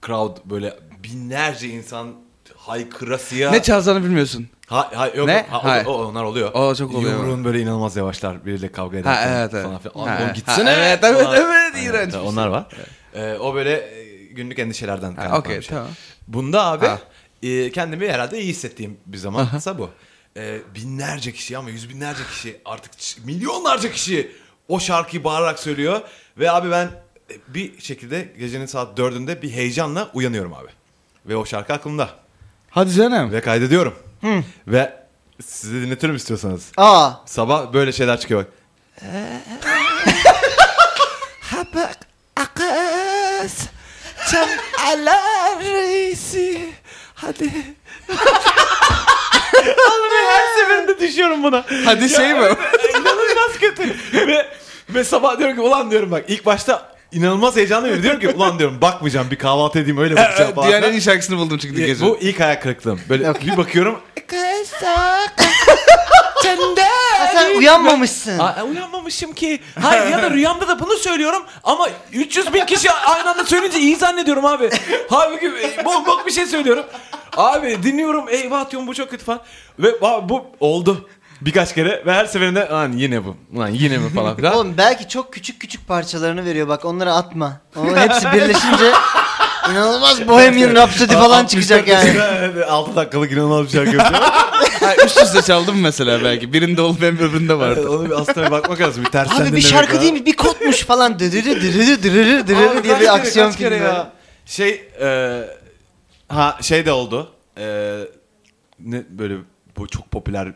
S2: crowd böyle binlerce insan haykırasıya.
S5: Ne çalacağını bilmiyorsun.
S2: Ha, ha, yok,
S5: Ne?
S2: Ha, o-
S5: Hayır.
S2: o- onlar oluyor.
S5: O çok oluyor.
S2: Yumruğun böyle inanılmaz yavaşlar biriyle kavga ederken
S5: Ha evet evet.
S2: falan filan.
S5: Ha,
S2: Oğlum
S5: ha,
S2: gitsene.
S5: evet evet
S2: Falan.
S5: evet
S2: Aynen,
S5: iğrenç.
S2: evet, Onlar var. Ee, o böyle e, günlük endişelerden kaynaklanan
S5: Okey
S2: bir şey.
S5: tamam.
S2: Bunda abi
S5: Ha.
S2: e, kendimi herhalde iyi hissettiğim bir zamansa bu. E, binlerce kişi ama yüz binlerce kişi artık ç- milyonlarca kişi o şarkıyı bağırarak söylüyor. Ve abi ben e, bir şekilde gecenin saat dördünde bir heyecanla uyanıyorum abi. Ve o şarkı aklımda.
S5: Hadi canım.
S2: Ve kaydediyorum. Ve
S1: size dinletirim istiyorsanız.
S4: Aa.
S2: sabah böyle şeyler çıkıyor
S6: *laughs*
S2: bak.
S6: Akız çam alar reisi. Hadi. her seferinde düşüyorum buna.
S5: *laughs* Hadi
S1: *laughs*
S5: şey mi?
S2: İnanılmaz kötü. ve, ve sabah diyorum ki ulan diyorum bak ilk başta inanılmaz heyecanlıyım. Diyorum ki ulan diyorum bakmayacağım bir kahvaltı edeyim
S6: Ee,
S2: öyle bakacağım falan.
S5: *laughs* Diğer en iyi şarkısını buldum çünkü gece.
S2: Bu ilk ayak kırıklığım. Böyle bir bakıyorum.
S4: Ha, sen uyanmamışsın. *laughs*
S2: Aa, uyanmamışım ki. Hayır ya da rüyamda da bunu söylüyorum ama 300 bin kişi aynı anda söyleyince iyi zannediyorum abi. Halbuki e, bok bok bir şey söylüyorum. Abi dinliyorum eyvah diyorum bu çok kötü falan. Ve abi, bu oldu. Birkaç kere ve her seferinde lan yine bu. Lan yine mi falan filan.
S4: Oğlum belki çok küçük küçük parçalarını veriyor bak onları atma. Onun *laughs* hepsi birleşince inanılmaz Bohemian Rhapsody falan çıkacak yani.
S1: 6 dakikalık inanılmaz bir şarkı yapıyor.
S5: Hayır, üst üste çaldım mesela belki. Birinde olup hem
S1: *laughs*
S5: öbüründe vardı.
S1: Onu bir aslında bir bakmak lazım. Bir tersten
S4: Abi bir
S1: dinlemek
S4: şarkı
S1: lazım.
S4: değil mi? Bir kodmuş falan. Dırırı dırırı dırırı dırırı diye bir aksiyon filmi. böyle.
S1: Şey e, ha şey de oldu. E, ne böyle bu çok popüler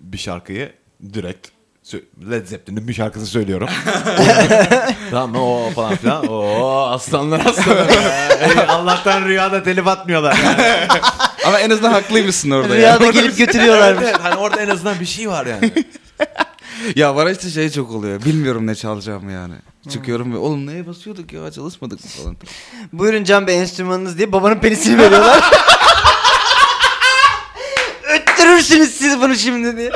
S1: bir şarkıyı direkt sö- Led Zeppelin'in bir şarkısını *laughs* söylüyorum.
S2: tamam mı? o falan filan. Oo aslanlar
S1: *laughs*
S2: aslanlar.
S1: Ee, Allah'tan rüyada telif atmıyorlar. Yani.
S5: Ama en azından haklıymışsın orada ya.
S4: Rüyada gelip götürüyorlarmış.
S1: Evet, hani orada en azından bir şey var yani.
S5: *laughs* Ya var işte şey çok oluyor. Bilmiyorum ne çalacağımı yani. Çıkıyorum ve oğlum neye basıyorduk ya çalışmadık mı falan.
S4: Buyurun Can Bey enstrümanınız diye babanın penisini *laughs* veriyorlar. Öttürürsünüz siz bunu şimdi diye.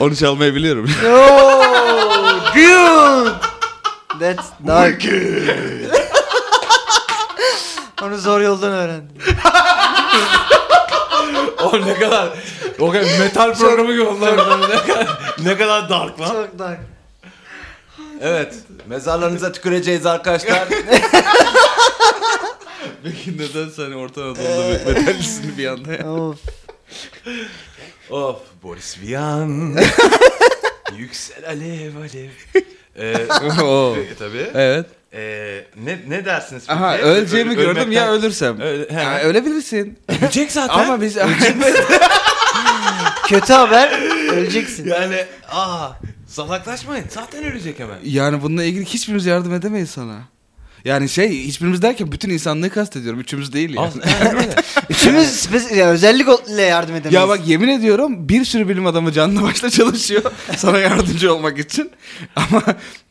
S5: Onu çalmayı biliyorum.
S4: Yo, Oh, dude. That's dark. Onu zor yoldan öğrendim.
S2: o ne kadar. O kadar metal programı gibi oldu.
S1: ne kadar dark lan.
S4: Çok dark.
S2: evet. Mezarlarınıza tüküreceğiz arkadaşlar.
S5: *laughs* Peki neden sen Orta Anadolu'da metalcisin bir anda ya?
S4: Of.
S2: of Boris
S5: *laughs*
S2: Vian. Yüksel alev alev.
S1: Ee,
S5: *laughs* Oo.
S1: tabii.
S5: Evet.
S1: Ee, ne, ne dersiniz? peki?
S5: Aha öleceğimi
S1: Öl-
S5: gördüm ya
S1: ölmekten-
S5: ölürsem.
S1: Öyle- he.
S5: Ha, ölebilirsin.
S2: Ölecek zaten.
S5: Ama biz *laughs*
S4: Kötü haber. Öleceksin.
S2: Yani aa salaklaşmayın. Zaten ölecek hemen.
S5: yani bununla ilgili hiçbirimiz yardım edemeyiz sana. Yani şey hiçbirimiz derken bütün insanlığı kastediyorum. Üçümüz değil yani. *laughs*
S4: Üçümüz spes- ya, özellikle yardım edemeyiz.
S5: Ya bak yemin ediyorum bir sürü bilim adamı canlı başla çalışıyor *laughs* sana yardımcı olmak için. Ama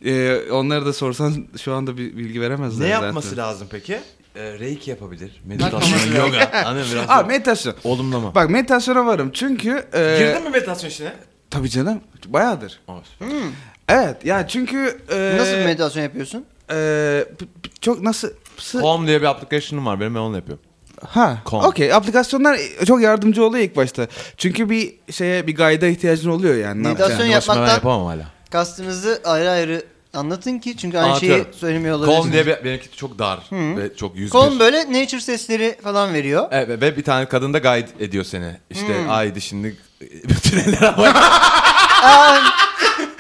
S5: e, onlara da sorsan şu anda bir bilgi veremezler
S1: Ne
S5: zaten.
S1: yapması lazım peki?
S2: Ee, reiki yapabilir.
S1: Meditasyon, yoga. Anladın mı? biraz
S5: Abi meditasyon.
S1: Olumlama.
S5: Bak meditasyona varım çünkü... e,
S1: Girdin mi meditasyon işine?
S5: Tabii canım bayağıdır.
S4: Hmm.
S5: Evet ya çünkü... e,
S4: Nasıl bir meditasyon yapıyorsun?
S5: e, p- p- çok nasıl... sı-
S1: Calm diye bir application'ım var benim ben onu yapıyorum.
S5: Ha.
S1: Kom.
S5: Okey. Aplikasyonlar çok yardımcı oluyor ilk başta. Çünkü bir şeye bir guide'a ihtiyacın oluyor yani. Ne
S4: Meditasyon
S5: yapacaksın?
S1: Başıma ben
S4: yapmaktan
S1: yapamam hala.
S4: kastınızı ayrı ayrı anlatın ki çünkü aynı şeyi
S2: Anlatıyorum.
S4: söylemiyor
S2: Kom
S4: olabilirsiniz.
S2: diye bir, benimki çok dar ve çok yüz
S4: Kolum
S2: bir.
S4: böyle nature sesleri falan veriyor.
S2: Evet, ve- ve bir tane kadın da guide ediyor seni. İşte
S4: Hmm.
S2: ay e, dişini bütün eller havaya.
S4: Aa,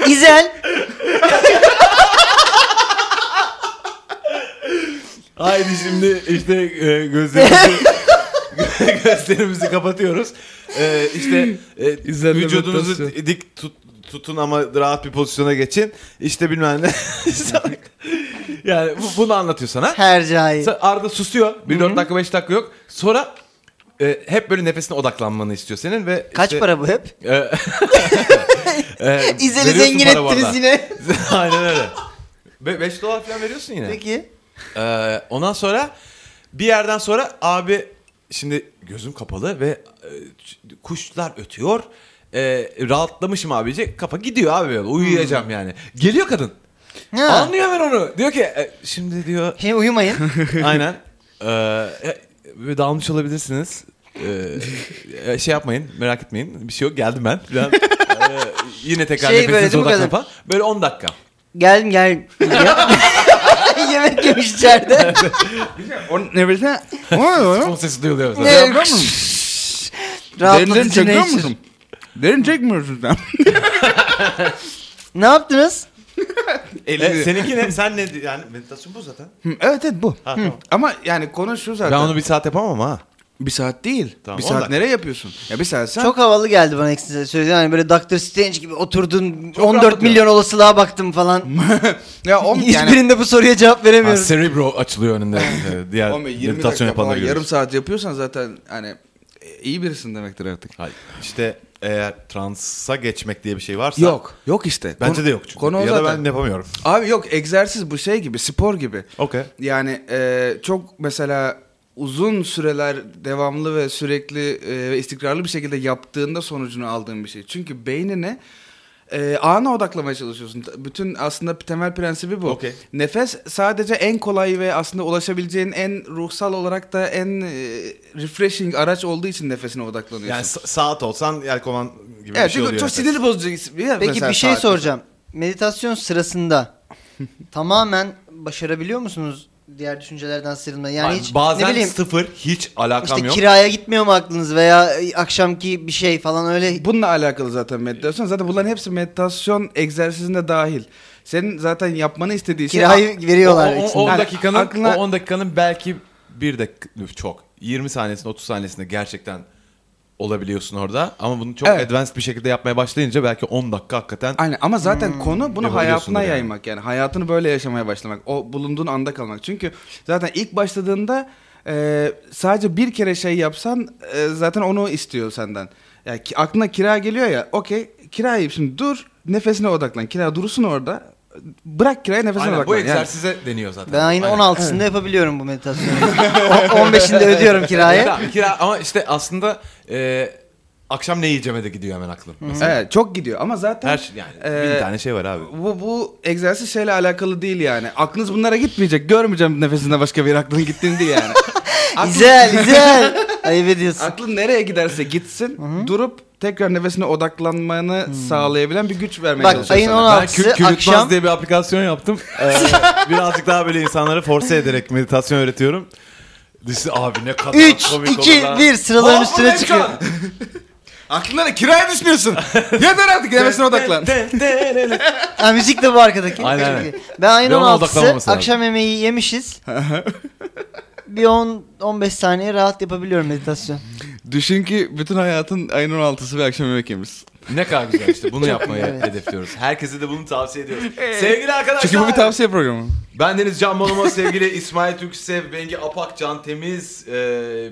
S4: İzel.
S2: *laughs* ay dişimde işte e, gözlerimizi
S4: *laughs*
S2: gözlerimizi kapatıyoruz. E, işte e,
S5: İzlenme
S2: vücudunuzu
S5: meditasyon.
S2: dik tut, tutun ama rahat bir pozisyona geçin. İşte bilmem
S4: *laughs*
S2: ne. *laughs* yani bu- bunu anlatıyor sana.
S4: Her cahil.
S2: Sa- Arda susuyor. Bir dört dakika 5 dakika yok. Sonra e, hep böyle nefesine odaklanmanı istiyor senin ve
S4: Kaç
S2: işte-
S4: para bu hep?
S2: E,
S4: *laughs*
S2: e,
S4: İzel'i
S2: veriyorsun
S4: zengin
S2: para bu arada.
S4: ettiniz yine.
S2: *laughs* Aynen öyle. 5 dolar falan veriyorsun yine.
S4: Peki.
S2: Ee, ondan sonra bir yerden sonra abi şimdi gözüm kapalı ve e, ç- kuşlar ötüyor. Ee, rahatlamışım abici. Kafa gidiyor abi böyle. Uyuyacağım yani. Geliyor kadın.
S4: Hmm. Ha.
S2: Anlıyor ben onu. Diyor ki e, şimdi diyor
S4: Şimdi uyumayın.
S1: *laughs*
S2: aynen. Ee, e, ve dalmış olabilirsiniz. Ee, e, şey yapmayın merak etmeyin. Bir şey yok geldim ben. Falan. Ee, yine tekrar
S4: Şey
S2: şey
S4: böyle
S2: nefesinize
S4: değil mi
S2: odaklanın
S4: kadın?
S2: falan. Böyle 10 dakika.
S4: Geldim gel. *laughs* Yemek yemiş içeride.
S5: O nefesine...
S2: Son sesi duyuluyor. mesela.
S4: Ne?
S5: Yapıyor musun? Derinden
S4: Rahatlatıcı
S5: çekiyor
S4: nature.
S5: musun? Derin çekmiyorsun sen.
S4: Ne yaptınız?
S1: E, seninki ne? Sen ne? Yani meditasyon bu zaten.
S5: Hı, evet evet bu.
S1: Ha,
S5: Hı.
S1: tamam.
S5: Ama yani konu şu zaten.
S2: Ben onu bir saat yapamam ha.
S5: Bir saat değil.
S1: Tamam,
S5: bir
S1: on
S5: saat
S1: dakika.
S5: nereye yapıyorsun? Ya bir saat sen...
S4: Çok havalı geldi bana ekstra söylediğin. Hani böyle Doctor Strange gibi oturdun
S2: Çok
S4: 14
S2: rahatlatıyor.
S4: milyon olasılığa baktım
S5: *laughs*
S4: falan.
S5: ya
S4: *laughs*
S5: on yani...
S4: Hiçbirinde bu soruya cevap
S2: Ha,
S4: veremiyorum.
S2: cerebro açılıyor önünde. Ee, Diğer
S5: on- yirmi dakika
S2: meditasyon yapanlar
S5: falan,
S2: görüyoruz.
S5: yarım saat yapıyorsan zaten hani e, iyi birisin demektir artık.
S1: Hayır. İşte eğer transa geçmek diye bir şey varsa.
S5: Yok. Yok işte.
S1: Bence
S5: Konu-
S1: de yok çünkü.
S5: Konu o
S1: ya
S5: zaten.
S1: da ben yapamıyorum.
S5: Abi yok egzersiz bu şey gibi spor gibi.
S1: Okey.
S5: Yani e, çok mesela uzun süreler devamlı ve sürekli e, ve istikrarlı bir şekilde yaptığında sonucunu aldığın bir şey. Çünkü beynine e, e, ana odaklamaya çalışıyorsun. T- Bütün aslında temel prensibi bu.
S8: Okey.
S5: Nefes sadece en kolay ve aslında ulaşabileceğin en ruhsal olarak da en e, refreshing araç olduğu için nefesine odaklanıyorsun.
S8: Yani sa- saat olsan yelkovan gibi
S5: evet
S8: bir şey
S5: çünkü
S8: oluyor.
S5: çok
S8: nefes.
S5: sinir bozucu. bir-
S4: Peki
S5: mesela
S4: bir şey
S5: saat.
S4: soracağım. Meditasyon
S5: *laughs*
S4: sırasında tamamen başarabiliyor musunuz diğer düşüncelerden sıyrılmayı? Yani
S9: Ay,
S4: hiç
S9: bazen
S4: ne bileyim
S9: sıfır hiç alakam
S4: işte
S9: yok.
S4: kiraya gitmiyor mu aklınız veya e, akşamki bir şey falan öyle
S5: Bununla alakalı zaten meditasyon. Zaten bunların hepsi meditasyon egzersizinde dahil. Senin zaten yapmanı istediği şey...
S4: kirayı veriyorlar.
S9: O- o-
S4: içinde.
S9: o 10
S5: Yani
S9: dakikanın
S5: aklına-
S9: o 10 dakikanın belki
S2: Bir dakika üf, çok. 20 saniyesinde 30 saniyesinde gerçekten olabiliyorsun orada. Ama bunu çok
S5: Evet.
S2: advanced bir şekilde yapmaya başlayınca belki 10 dakika hakikaten
S5: Aynen ama zaten
S2: Hmm.
S5: konu bunu
S2: Yapabiliyorsundur
S5: hayatına
S2: yani.
S5: yaymak yani. Hayatını böyle yaşamaya başlamak. O bulunduğun anda kalmak. Çünkü zaten ilk başladığında e, sadece bir kere şey yapsan e, zaten onu istiyor senden. Yani ki- aklına kira geliyor ya. Okey kirayı şimdi dur nefesine odaklan. Kira durursun orada. Bırak kirayı nefesine
S2: Aynen, bu
S5: odaklan. Yani
S2: egzersize deniyor zaten.
S4: Ben ayın 16'sında yapabiliyorum bu meditasyonu. O- 15'inde
S2: *laughs*
S4: ödüyorum kirayı.
S2: Kira, kira ama işte aslında e, akşam ne yiyeceğime de gidiyor hemen aklım. Mesela.
S5: Evet çok gidiyor ama zaten
S2: Her şey yani
S5: e,
S2: bin tane şey var abi.
S5: Bu, bu egzersiz şeyle alakalı değil yani. Aklınız bunlara gitmeyecek. Görmeyeceğim nefesinde başka bir aklın gittiğini değil yani.
S4: İzel İzel. Ayıp ediyorsun.
S5: Aklın nereye giderse gitsin durup tekrar nefesine odaklanmanı sağlayabilen bir güç vermeye
S4: Bak
S5: çalışıyor
S4: ayın
S5: sana.
S8: Ben kü-
S4: 16'sı
S8: Kürütmaz
S4: akşam
S8: diye bir aplikasyon yaptım.
S4: *laughs*
S8: Ee, birazcık daha böyle insanlara force ederek meditasyon öğretiyorum. Dişi abi ne kadar
S4: 3,
S8: komik
S4: 2,
S8: olur lan.
S4: 1 sıraların üstüne çıkıyor.
S5: Aklına ne? kiraya düşmüyorsun. Yeter artık nefesine odaklan.
S4: Ha, müzik de bu arkadaki.
S8: Aynen,
S4: Çok
S8: aynen.
S4: iyi. Ben ayın
S8: Ben ona
S4: 16'sı
S8: odaklanmaması lazım.
S4: akşam
S8: *laughs*
S4: yemeği yemişiz. bir 10-15 saniye rahat yapabiliyorum meditasyon.
S5: Düşün ki bütün hayatın ayın 16'sı ve akşam yemek yemiş.
S2: Ne kadar güzel işte bunu yapmayı
S4: Evet.
S2: hedefliyoruz. Herkese de bunu tavsiye ediyoruz. Sevgili arkadaşlar.
S5: Çünkü bu bir tavsiye programı.
S2: Ben Deniz Can Bonomo, sevgili İsmail Türksev, Bengi Apak, Can Temiz. Ee,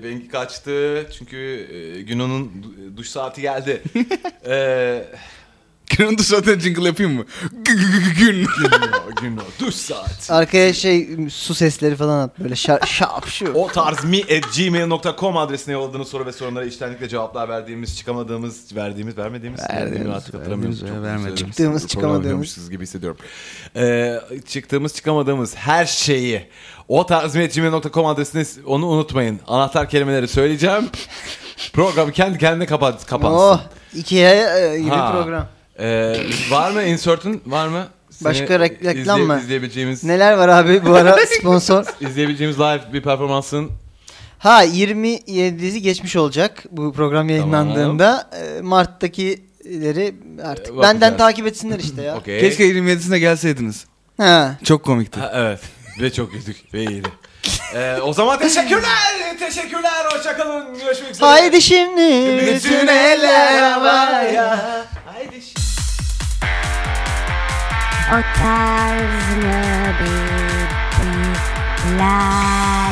S2: Bengi kaçtı çünkü e, Günon'un du- duş saati
S4: *laughs*
S2: geldi. ee,
S5: Kırın da zaten jingle yapayım mı? Gü- gü- gü- gü- Gün.
S2: Güno, Güno, duş saati.
S4: Arkaya şey su sesleri falan at
S8: *laughs*
S4: böyle şa- şap şu.
S2: O tarz mi at gmail.com adresine yolladığınız soru ve sorunlara içtenlikle cevaplar verdiğimiz, çıkamadığımız, verdiğimiz, vermediğimiz, verdiğimiz artık hatırlamıyorum.
S5: verdiğimiz ve
S2: Çok
S5: vermediğimiz.
S2: üzüldüm.
S4: Çıktığımız,
S2: Program
S4: çıkamadığımız.
S2: yapıyormuşuz gibi hissediyorum. Ee, çıktığımız çıkamadığımız her şeyi o tarzmiyetgmail.com adresine onu unutmayın. Anahtar kelimeleri
S4: *laughs*
S2: söyleyeceğim. Program kendi kendine kapat, kapansın.
S4: Oh, ikiye e, gibi
S2: Ha.
S4: program.
S2: Ee, var mı insert'ün var mı? Seni
S4: Başka rek- reklam
S2: izleye-
S4: mı?
S2: izleyebileceğimiz,
S4: Neler var abi bu
S8: *laughs*
S4: ara sponsor?
S2: izleyebileceğimiz live bir performansın
S4: Ha 27'si geçmiş olacak bu program yayınlandığında. E, Mart'takileri artık
S2: E, bakacağız.
S4: benden takip etsinler işte *laughs* ya.
S2: okey.
S5: Keşke 27'sine gelseydiniz.
S4: Ha.
S5: Çok komikti.
S2: Ha, evet. Ve çok güldük. Ve iyiydi. Ee, o zaman teşekkürler. Teşekkürler. Hoşçakalın. Görüşmek üzere.
S4: Haydi şimdi bütün eller havaya.
S10: O tarz mı bir bir lay